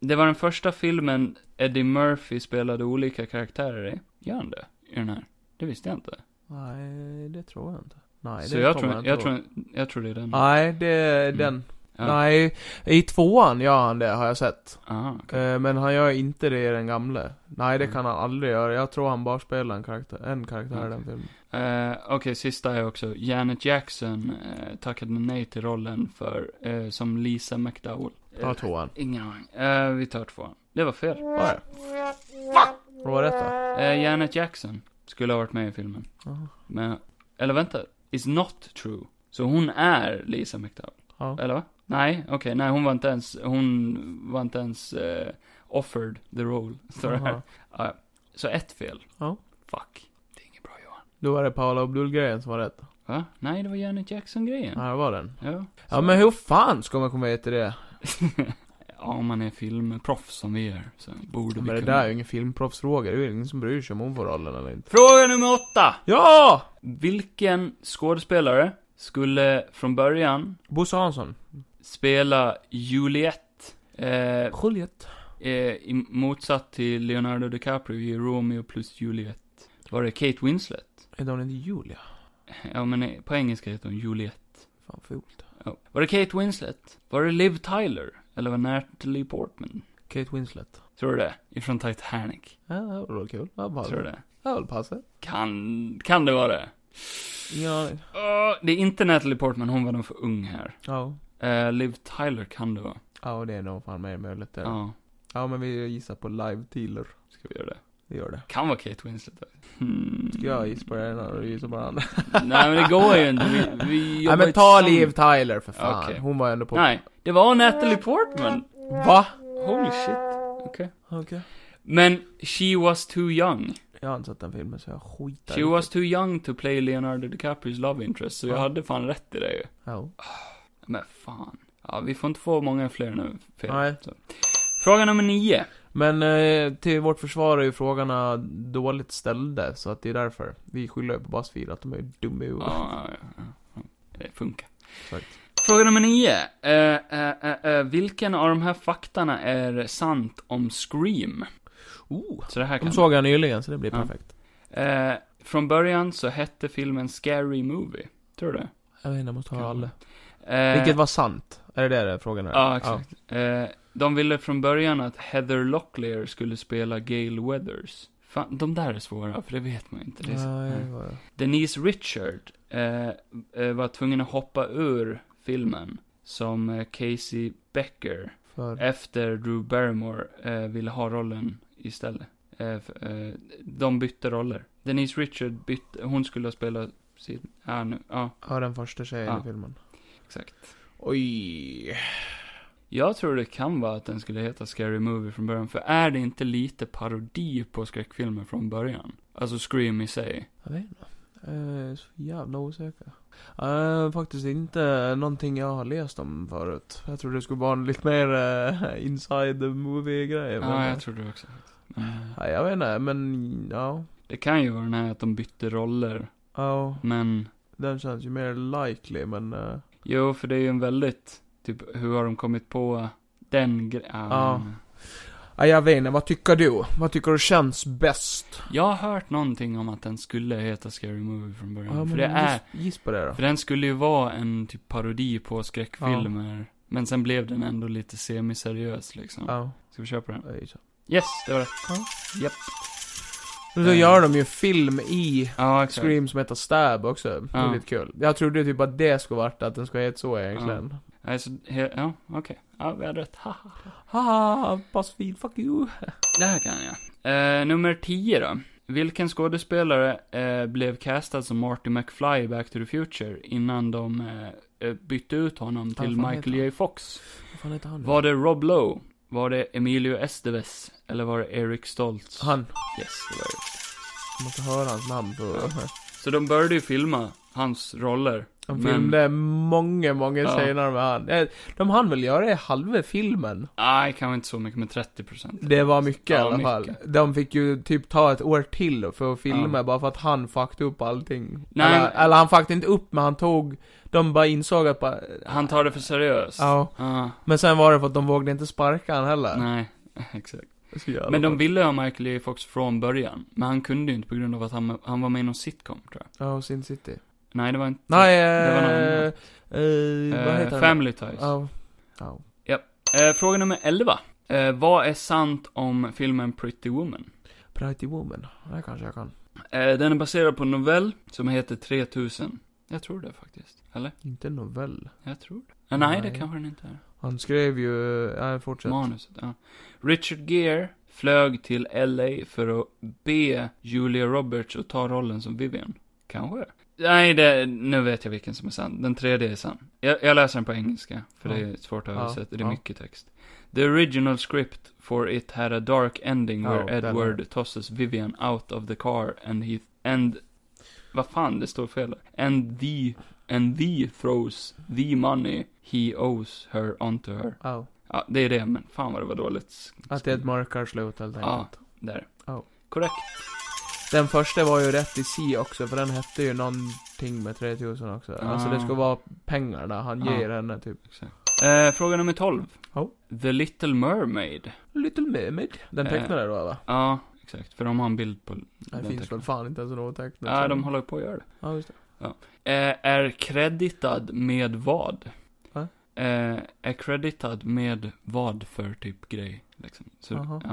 Det var den första filmen Eddie Murphy spelade olika karaktärer i. Gör han det? I den här? Det visste jag inte. Nej, det tror jag inte. Nej, Så det jag kommer tror, inte jag, ihåg. Ah, tror, jag tror det är den. Nej, det är den. Ja. Nej, i tvåan gör han det, har jag sett. Aha, okej. Eh, Men han gör inte det i den gamle. Nej, det Mm. kan han aldrig göra. Jag tror han bara spelar en karaktär, en karaktär i den filmen. Eh, Okej, sista är också. Janet Jackson eh, tackade nej till rollen för, eh, som Lisa McDowell. Ja, tvåan. Ingen aning. Eh, vi tar tvåan. Det var fel. Var det? Fuck! Vad var rätt då? Eh, Janet Jackson skulle ha varit med i filmen. Jaha. Men, eller vänta. It's not true. Så hon är Lisa McDowell. Ja. Eller va? Nej, okej, nej hon var inte ens, hon var inte ens eh, offered the role. Står det här. Jaha. Ja, så ett fel. Ja. Fuck. Det är inget bra Johan. Då var det Paula Abdul-grejen som var rätt. Va? Nej, det var Janet Jackson-grejen. Ja, det var den. Ja. Ja, men hur fan ska man komma hit till det? ja, om man är filmproffs som vi är, så borde Men vi det där är ju ingen filmproffsfråga. Det är ju ingen som bryr sig om hon får rollen eller inte. Fråga nummer åtta! Ja! Vilken skådespelare skulle från början Bosse Hansson. spela Juliet? Eh, Juliet. eh, i motsatt till Leonardo DiCaprio i Romeo plus Juliet. Var det Kate Winslet? Är hon inte Julia? Ja, men eh, på engelska heter hon Juliet. Fan, fult. Ja. Var det Kate Winslet? Var det Liv Tyler? Eller var det Natalie Portman? Kate Winslet. Tror du det? Ifrån Titanic. Ja, det var väl kul. Ja, bara, Tror du det? Ja, väl passar. Kan, kan det vara det? Ja, Åh, Eh, det är inte Natalie Portman, hon var nog för ung här. ja. Eh, Liv Tyler kan det vara. Ja, det är nog fan mer möjligt där. Ja. Ja. men vi gissar på live dealer. ska vi göra det. Vi gör det. Kan vara Kate Winslet. Hmm. Ska jag gissa på det ena och du gissar på det andra? Nej men det går ju inte. Vi, vi Nej jobbar men ju ta tillsammans. Liv Tyler för fan. Okej. Hon var ändå på... Nej, det var Natalie Portman. Va? Holy shit. Okej. Okej. Men She was too young. Jag har inte sett den filmen så jag skitar She was too young to play Leonardo DiCaprios love interest, så jag Ja. hade fan rätt i det ju. Ja. Men fan. Ja, vi får inte få många fler nu. Fel. Nej. Så. Fråga nummer nio. Men eh, till vårt försvar är ju frågorna dåligt ställda, så att det är därför. Vi skyller ju på Buzzfeed att de är dumma i huvudet. Ja, ja, ja, ja. Det funkar. Exakt. Fråga nummer nio. Eh, eh, eh, eh, vilken av de här faktarna är sant om Scream? Oh, Så det här kan... de såg jag nyligen, så det blir Ja. perfekt. Eh, från början så hette filmen Scary Movie. Tror du det? Jag vet inte, jag måste höra alla. Eh, Vilket var sant? Är det det frågan är? Ja, exakt. Eh, de ville från början att Heather Locklear skulle spela Gail Weathers. Fan, de där är svåra, för det vet man inte. Det är så- Nej, Mm. vad- Denise Richard eh, eh, var tvungen att hoppa ur filmen som eh, Casey Becker för... efter Drew Barrymore eh, ville ha rollen istället. Eh, f- eh, de bytte roller. Denise Richard bytte, hon skulle ha spelat sin, ja nu, ja, Ja, den första tjejen Ja. i filmen. exakt. Oj. Jag tror det kan vara att den skulle heta Scary Movie från början, för är det inte lite parodi på skräckfilmer från början? Alltså Scream i sig. Jag vet inte. Eh, så jävla osäker. Eh, faktiskt inte någonting jag har läst om förut. Jag trodde det skulle vara lite mer eh, inside the movie-grejer. men- Ja, jag tror det också. Mm. Nej, jag vet inte, men ja. Det kan ju vara den här att de bytte roller, Ja, men den känns ju mer likely, men... eh, Jo, för det är ju en väldigt, typ, hur har de kommit på den grejen? Ja. Ja, jag vet inte, vad tycker du? Vad tycker du känns bäst? Jag har hört någonting om att den skulle heta Scary Movie från början. Ja, för men det är, giss, giss på det då. för den skulle ju vara en typ parodi på skräckfilmer. Men sen blev den ändå lite semiseriös liksom. Ja, Ska vi köpa den? jag gissar. Yes, det var rätt. Men så Eh. gör de ju film i Ja, exakt. Scream som heter Stab också. Det är Ja. lite kul. Jag trodde typ att det skulle varit att den skulle heta så egentligen. Alltså, he- ja, okej. Ja, vi hade rätt. Haha. Haha, Buzzfeed, fuck you. Det här kan jag. Eh, nummer 10 då. Vilken skådespelare eh, blev castad som Marty McFly i Back to the Future innan de eh, eh, bytte ut honom till fan heter Michael han? J. Fox? Vad fan heter han? Var det Rob Lowe? Var det Emilio Estevez? Eller var det Eric Stoltz? Han. Yes, det var det. Jag måste höra hans namn på... Ja. Så de började ju filma hans roller. De Men- filmade många, många Ja. scener med han. Eh, De hann väl göra det i halva filmen? Nej, kanske inte så mycket, men 30%. Det var mycket Ja, i alla fall. mycket. De fick ju typ ta ett år till för att filma Ja. bara för att han fuckade upp allting. Nej. Eller, eller han fuckade inte upp men han tog, de bara insåg att bara, Han tar det för seriöst. Ja. Ah, Men sen var det för att de vågade inte sparka han heller. nej, exakt. Så jävla Men de bra. ville ha Michael J. Fox från början. Men han kunde ju inte på grund av att han, han var med i någon sitcom, tror jag. Ja, och Sin City. Nej, det var inte... Nej, var eh, någon eh, annan. vad Eh, heter han? Family Ties. Ja. Ja. Eh, fråga nummer 11. Eh, vad är sant om filmen Pretty Woman? Pretty Woman. Det kanske jag kan. Eh, den är baserad på en novell som heter 3000. Jag tror det faktiskt. Eller? Inte en novell. Jag tror det. Eh, nej, det Nej. kanske den inte är. Han skrev ju, eh, nej fortsätt. Manuset, ja. Richard Gere flög till LA för att be Julia Roberts att ta rollen som Vivian. Kanske. Nej, det, nu vet jag vilken som är sann. Den tredje är sann. Jag, jag läser den på engelska, för det är svårt att Ja, översätta. Det är ja. mycket text. The original script for it had a dark ending where Ja, den är- Edward tosses Vivian out of the car and he and vad fan det står fel där. And the, and the throws the money he owes her onto her. Oh. Ja, det är det, men fan vad det var dåligt. Att det är ett mörkarslut helt enkelt. Ja, där. Oh. Korrekt. Den första var ju rätt i sig också, för den hette ju någonting med 3000 också. Alltså Ah. det ska vara pengar där han Ja. ger henne typ. Eh, fråga nummer 12. Ja. The Little Mermaid. Little Mermaid. Den Eh. tecknade då va? Ja, exakt. För de har en bild på... Det den finns väl tecknaren. fan inte ens något tecknat. Ja, som- de håller på att göra det. Ja, just det. Eh, är creditad med vad? Va? Eh, är creditad med vad för typ grej? Liksom. Så, Aha. ja.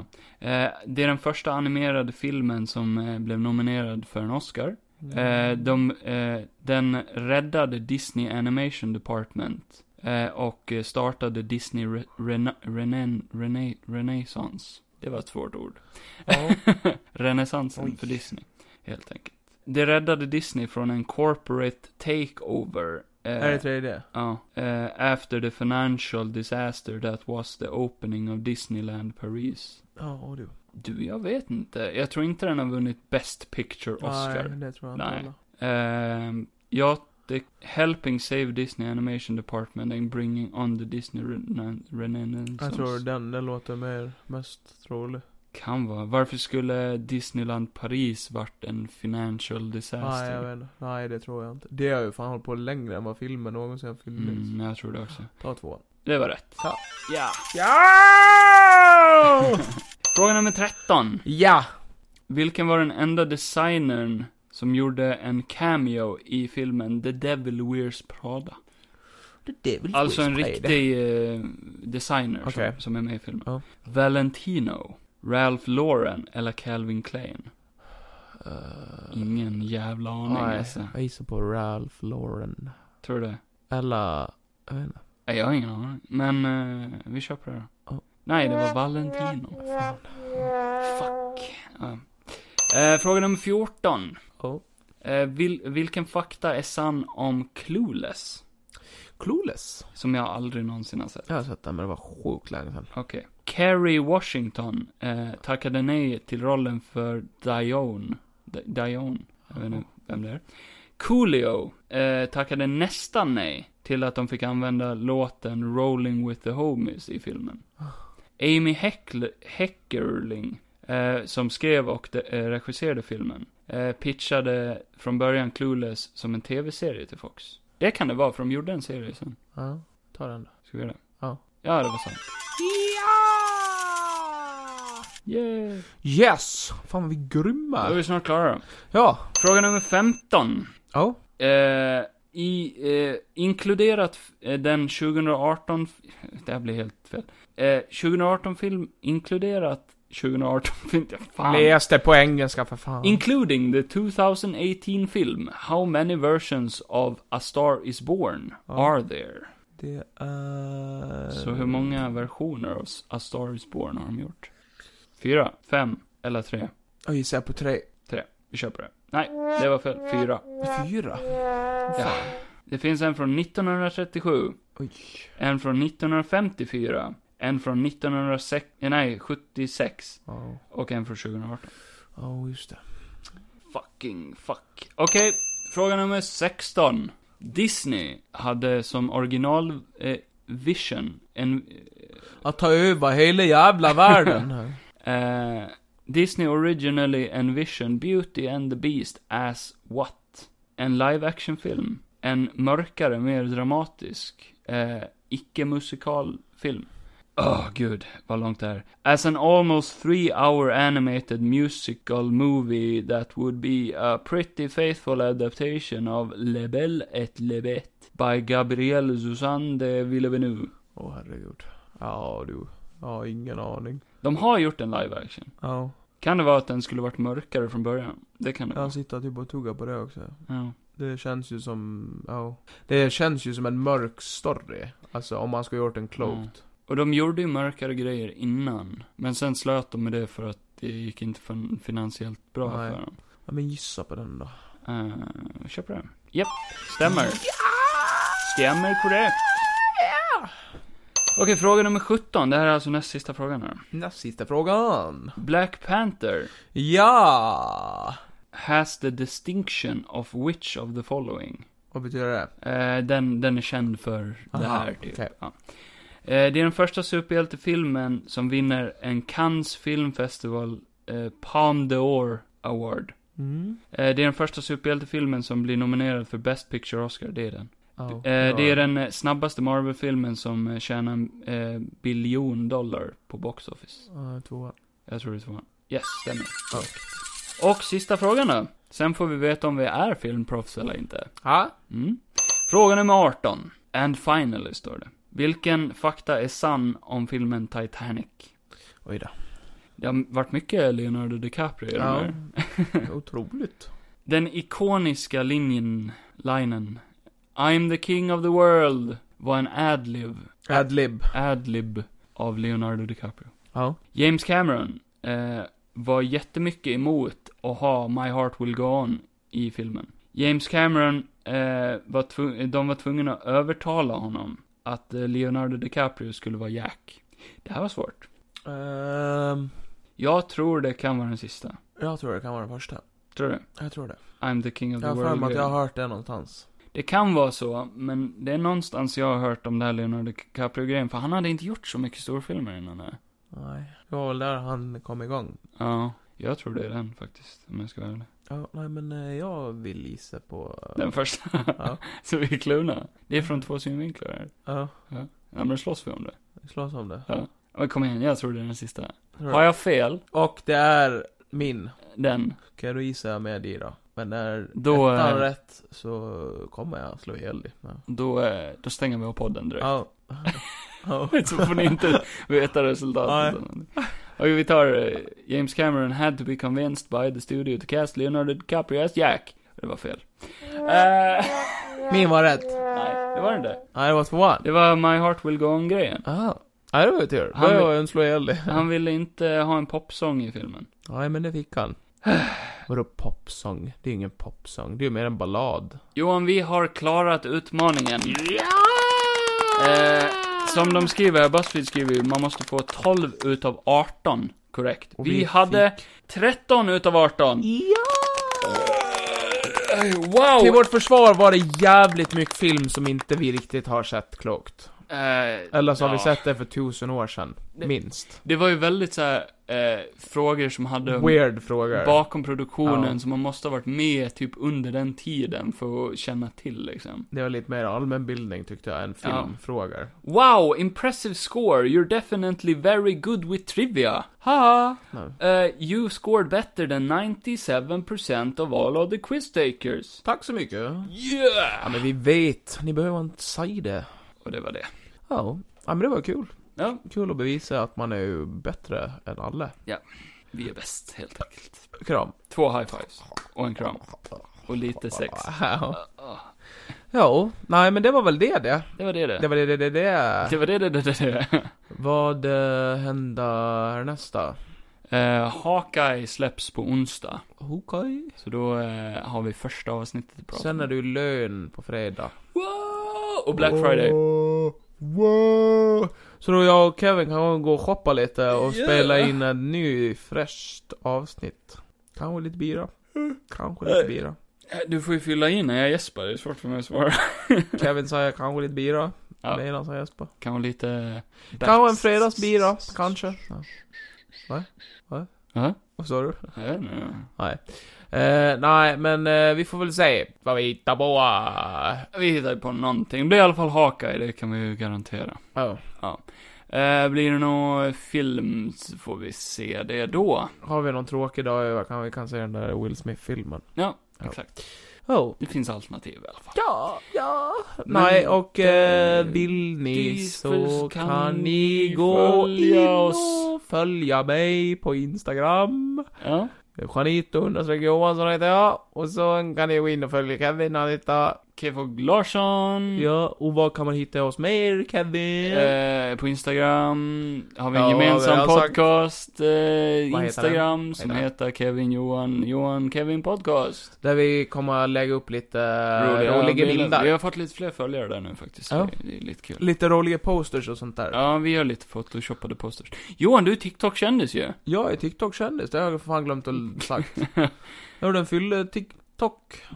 eh, det är den första animerade filmen som eh, blev nominerad för en Oscar. Eh, de, eh, den räddade Disney Animation Department eh, och eh, startade Disney Re- Rena- Renen- Rene- Renaissance. Det var ett svårt ord. Ja. Renässansen Oj. för Disney, helt enkelt. Det räddade Disney från en corporate takeover. eh, Är det 3D? Ja. eh, after the financial disaster that was the opening of Disneyland Paris. Ja, och du. Du, jag vet inte. Jag tror inte den har vunnit Best Picture Oscar. Nej, det tror jag Nej. inte. heller. Ehm, ja, the Helping Save Disney Animation Department and Bringing on the Disney Renan- Renaissance. Jag tror den, den låter mer, mest trolig. Kan vara. Varför skulle Disneyland Paris varit en financial Nej, jag disaster? vet inte. Nej, det tror jag inte. Det har ju fan hållit på längre än vad filmen någonsin fylldes. mm, jag tror det också. Ta två. Det var rätt. Ja. Oh! Ja. Ja! Fråga nummer 13. ja! Vilken var den enda designern som gjorde en cameo i filmen The Devil Wears Prada? Det är väl Alltså en skit, nej, det- riktig eh, designer Okej. som, som är med i filmen. Ja. Valentino, Ralph Lauren eller Calvin Klein? Eh, Ingen jävla aning nej, alltså. Jag gissar på Ralph Lauren. Tror du det? Eller, jag vet inte. Nej, jag har ingen aning. Men eh, vi kör på det då. Ja. Nej, det var Valentino. Fan. Fuck. Ja. Eh, fråga nummer 14. Oh. Eh, vil, vilken fakta är sann om Clueless? Clueless. Som jag aldrig någonsin har sett. Jag har sett den, men det var sjukt länge sedan. Okej. Kerry Washington eh, tackade nej till rollen för Dione. D- Dione. Jag vet inte vem det är. Coolio eh, tackade nästan nej till att de fick använda låten Rolling with the Homies i filmen. Amy Heckle- Heckerling, eh, som skrev och de- eh, regisserade filmen, eh, pitchade från början Clueless som en tv-serie till Fox. Det kan det vara, för de gjorde en serie sen. Ja, ta den då. Ska vi göra det? Ja. Ja, det var sant. Yeah. Yes! Fan vad vi är Då är grymma. vi snart klara då. Ja. Fråga nummer 15. Ja. Eh, i, eh, inkluderat f- eh, den 2018... Det här blir helt fel. Eh, 2018-film inkluderat 2018-film... Ja, fan. Läs det på engelska för fan. Including the 2018 film, how many versions of A Star Is Born Ja. are there? det är... Så hur många versioner av S- A Star Is Born har de gjort? Fyra, fem eller tre? Jag gissar på tre. Vi kör på det. Nej, det var fel. Fyra. Fyra? Ja. Det finns en från 1937, Oj. en från 1954, en från 1906, eh, nej, 76 Ja, och en från 2018. Ja, just det. Fucking fuck. Okej, fråga nummer 16. Disney hade som original eh, vision en... Att ta över hela jävla världen. här. Eh, Disney originally envisioned Beauty and the Beast as what? En live action film. En mörkare, mer dramatisk, eh, icke-musikal film. Åh, gud, vad långt det här. As an almost three hour animated musical movie that would be a pretty faithful adaptation of Le Belle et Le Bête by Gabrielle Suzanne de Villeneuve. Åh, herregud. Ja, du. Ja, ingen aning. De har gjort en live action. Ja. Kan det vara att den skulle varit mörkare från början? Det kan det vara. Jag sitter typ och tuggar på det också. Ja. Det känns ju som, ja. Det känns ju som en mörk story. Alltså om man skulle gjort den klokt. Och de gjorde ju mörkare grejer innan. Men sen slöt de med det för att det gick inte fin- finansiellt bra Nej. för dem. Ja, men gissa på den då. Uh, köp det. Japp, stämmer. Mm. Stämmer korrekt. Okej, fråga nummer 17. Det här är alltså näst sista frågan här. Näst sista frågan. Black Panther Ja! has the distinction of which of the following. Vad betyder det? Eh, den, den är känd för det Aha, här typ. okej. Ja. Eh, det är den första superhjältefilmen som vinner en Cannes Film Festival eh, Palme d'Or Award. Mm. Eh, det är den första superhjältefilmen som blir nominerad för Best Picture Oscar, det är den. Ja. Eh, det är den eh, snabbaste Marvel-filmen som eh, tjänar en eh, biljon dollar på box office. Ja, tvåa. Jag tror det är tvåan. Yes, stämmer. Ja. Och sista frågan då. Sen får vi veta om vi är filmproffs eller inte. Ja? Mm. Fråga nummer 18. And finally, står det. Vilken fakta är sann om filmen Titanic? Oj då. Det har varit mycket Leonardo DiCaprio i den Ja. här. Otroligt. Den ikoniska linjen, linen. I'm the king of the world. Var en adlib, Adlib. adlib av Leonardo DiCaprio. Ja. James Cameron eh, var jättemycket emot att ha My Heart Will Go On i filmen. James Cameron, eh, var tvu- de var tvungna att övertala honom att eh, Leonardo DiCaprio skulle vara Jack. Det här var svårt. Ehm, Jag tror det kan vara den sista. jag tror det kan vara den första. Tror du? Jag tror det. I'm the king of the Jag har för world. mig att jag grejen. har hört det någonstans. Det kan vara så, men det är någonstans jag har hört om det här Leonardo DiCaprio-grejen, för han hade inte gjort så mycket storfilmer innan det. här. Nej. Det var väl där han kom igång. Ja, jag tror det är den faktiskt, om jag ska vara ärlig. Ja, nej men eh, jag vill gissa på... eh, Den första. Ja. Så vi är kluna. Det är från två synvinklar här. Ja, Ja, men slåss vi om det? vi slåss om det. Ja. Men kom igen, jag tror det är den sista. Tror Har jag. jag fel, Och det är min. den. Okej, då gissar jag med dig då. Men när Då, ettan eh, rätt så kommer jag slå ihjäl dig. Ja. Då, eh, då stänger vi av podden direkt. Ja. Ja. Så får ni inte veta resultatet. Och vi tar eh, James Cameron had to be convinced by the studio to cast Leonardo DiCaprio as Jack. Det var fel. Eh, Min var rätt. nej, det var det inte. Nej, det var tvåan. Det var My Heart Will Go On-grejen. Ja. Nej, det var ju tur. Han Han vill- var ju en slå ihjäl dig. Han ville inte ha en popsång i filmen. Nej, men det fick han. Vadå popsång? Det är ju ingen popsång. Det är ju mer en ballad. Johan, vi har klarat utmaningen. Eh, som de skriver, här, Buzzfeed skriver ju, man måste få 12 utav 18 korrekt. Och Vi, vi fick- hade 13 utav 18. Eh, Wow! Till vårt försvar var det jävligt mycket film som inte vi riktigt har sett klokt. Eh, Eller så har vi ja. sett det för tusen år sedan. Minst. Det var ju väldigt så här, eh, frågor som hade Weird frågor. bakom produktionen, Ja. så man måste ha varit med typ under den tiden för att känna till liksom. Det var lite mer allmänbildning tyckte jag, än filmfrågor. Wow, impressive score. You're definitely very good with trivia. Haha. Nej. Uh, you scored better than 97% of all of the quiz takers. Tack så mycket. Ja Yeah! men vi vet, ni behöver inte säga det. Och det var det. Ja, ja men det var kul. Ja, Kul att bevisa att man är ju bättre än alla. vi är bäst helt enkelt. Kram. Två high fives. Och en kram. Och lite sex. Ja. Ja, nej men det var väl det det. Det var det det. Det var det det det Det det. var det det det det. det. Vad eh, händer härnästa? Eh, Hawkeye släpps på onsdag. Okej. Så då eh, har vi första avsnittet att prata Sen är om. du lön på fredag. Wow! Och Black Friday. Wow, wow. Så då jag och Kevin kan gå och shoppa lite och Yeah. spela in ett ny fräscht avsnitt. Kanske lite bira. Kanske lite Nej. bira. Eh, Du får ju fylla in när jag gäspar, det är svårt för mig att svara. Kevin säger kanske lite bira. Ja. Medan säger Jesper. Kanske lite... Kanske en fredagsbira, kanske. Ja. Va? Va? Ja, Vad sa du? jag vet inte. Nej. Eh, nej, men eh, vi får väl se vad vi hittar på. Vi hittar ju på någonting. Det blir i alla fall haka i det kan vi ju garantera. Ja. Eh, blir det någon film så får vi se det då. Har vi någon tråkig dag över kan vi kan se den där Will Smith-filmen. Ja, Ja. exakt. Oh. Det finns alternativ i alla fall. Ja, ja. Men Nej, och eh, det- vill ni det så kan kan ni ni gå följa in oss. och följa mig på Instagram. Ja. Janito Johansson heter jag. Och så kan ni gå in och följa Kevin, han heter Kevog Larsson. Ja, och vad kan man hitta hos mer Kevin? Eh, på Instagram har vi en Ja, vi gemensam har sagt- podcast. Eh, den? Instagram som Vad heter heter Kevin Johan, Johan Kevin Podcast. Där vi kommer att lägga upp lite Roliga Eh, roliga, bilder. Vi har fått lite fler följare där nu faktiskt. Ja. Det är lite kul. Lite roliga posters och sånt där. Ja, vi gör lite photoshoppade posters. Johan, du är TikTok-kändis ju. Jag är TikTok-kändis, det har jag för fan glömt att sagt. Jag gjorde en fylle TikTok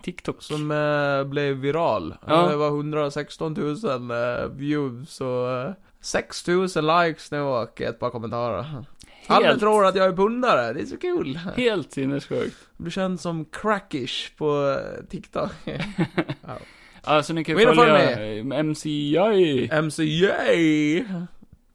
TikTok. som eh, blev viral. Ja. Det var 116 000 eh, views och eh, 6 000 likes nu och ett par kommentarer. Alla Helt- tror att jag är pundare, det är så kul. Helt sinnessjukt. Du känns som crackish på eh, TikTok. Alltså ni kan Gå in och följ följa eh, MCI. MCJ!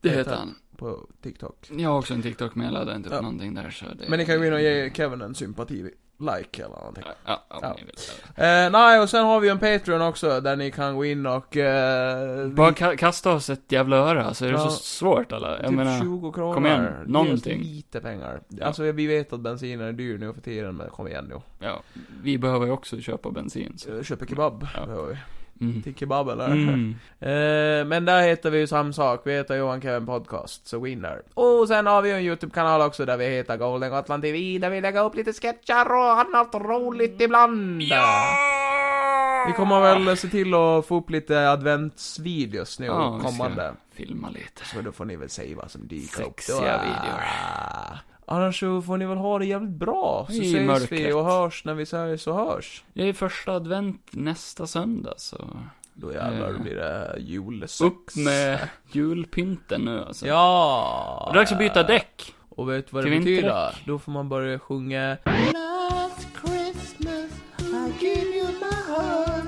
Det heter han. På TikTok. Jag har också en TikTok men jag laddar inte upp Ja. någonting där så det... Men ni kan gå in och ge Kevin en sympati like eller någonting. Ja, ja, om Ja. ni vill. Eh, nej, och sen har vi ju en Patreon också där ni kan gå in och... Eh, Bara ka- kasta oss ett jävla öra så är det Ja. så svårt alla. Jag typ menar, 20 kronor. kom igen, Ge oss någonting. lite pengar. Alltså vi vet att bensinen är dyr nu för tiden, men kom igen nu. ja, vi behöver ju också köpa bensin så. Eh, Köper kebab, Ja. behöver vi. Mm. Till kebab eller? Mm. Eh, men där heter vi ju samma sak, vi heter Johan Kevin Podcast, så gå in där. Och sen har vi ju en YouTube-kanal också där vi heter Golden Gotland TV, där vi lägger upp lite sketcher och annat Mm. roligt ibland. Vi kommer väl se till att få upp lite adventsvideos nu Ja, vi ska. kommande. Filma lite. Så då får ni väl se vad som dyker upp. Sexiga då. Ah, videor. Annars så får ni väl ha det jävligt bra, så I ses vi mörkret. och hörs när vi säger så hörs. Det är första advent nästa söndag så. Då jävlar Eh. blir det julsex. Upp med julpynten nu alltså. Ja! Och dags att byta däck. Och vet du vad det Till vinterdäck. betyder? Då får man börja sjunga Last Christmas I give you my heart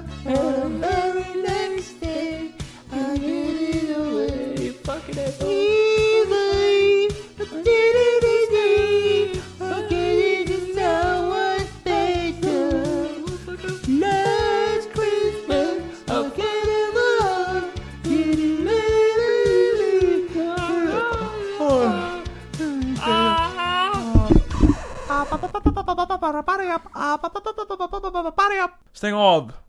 And the very next day I give it away Fucking it Easily I did it easy I gave it now what they Last Christmas I gave it love Did it really Oh. Stäng av!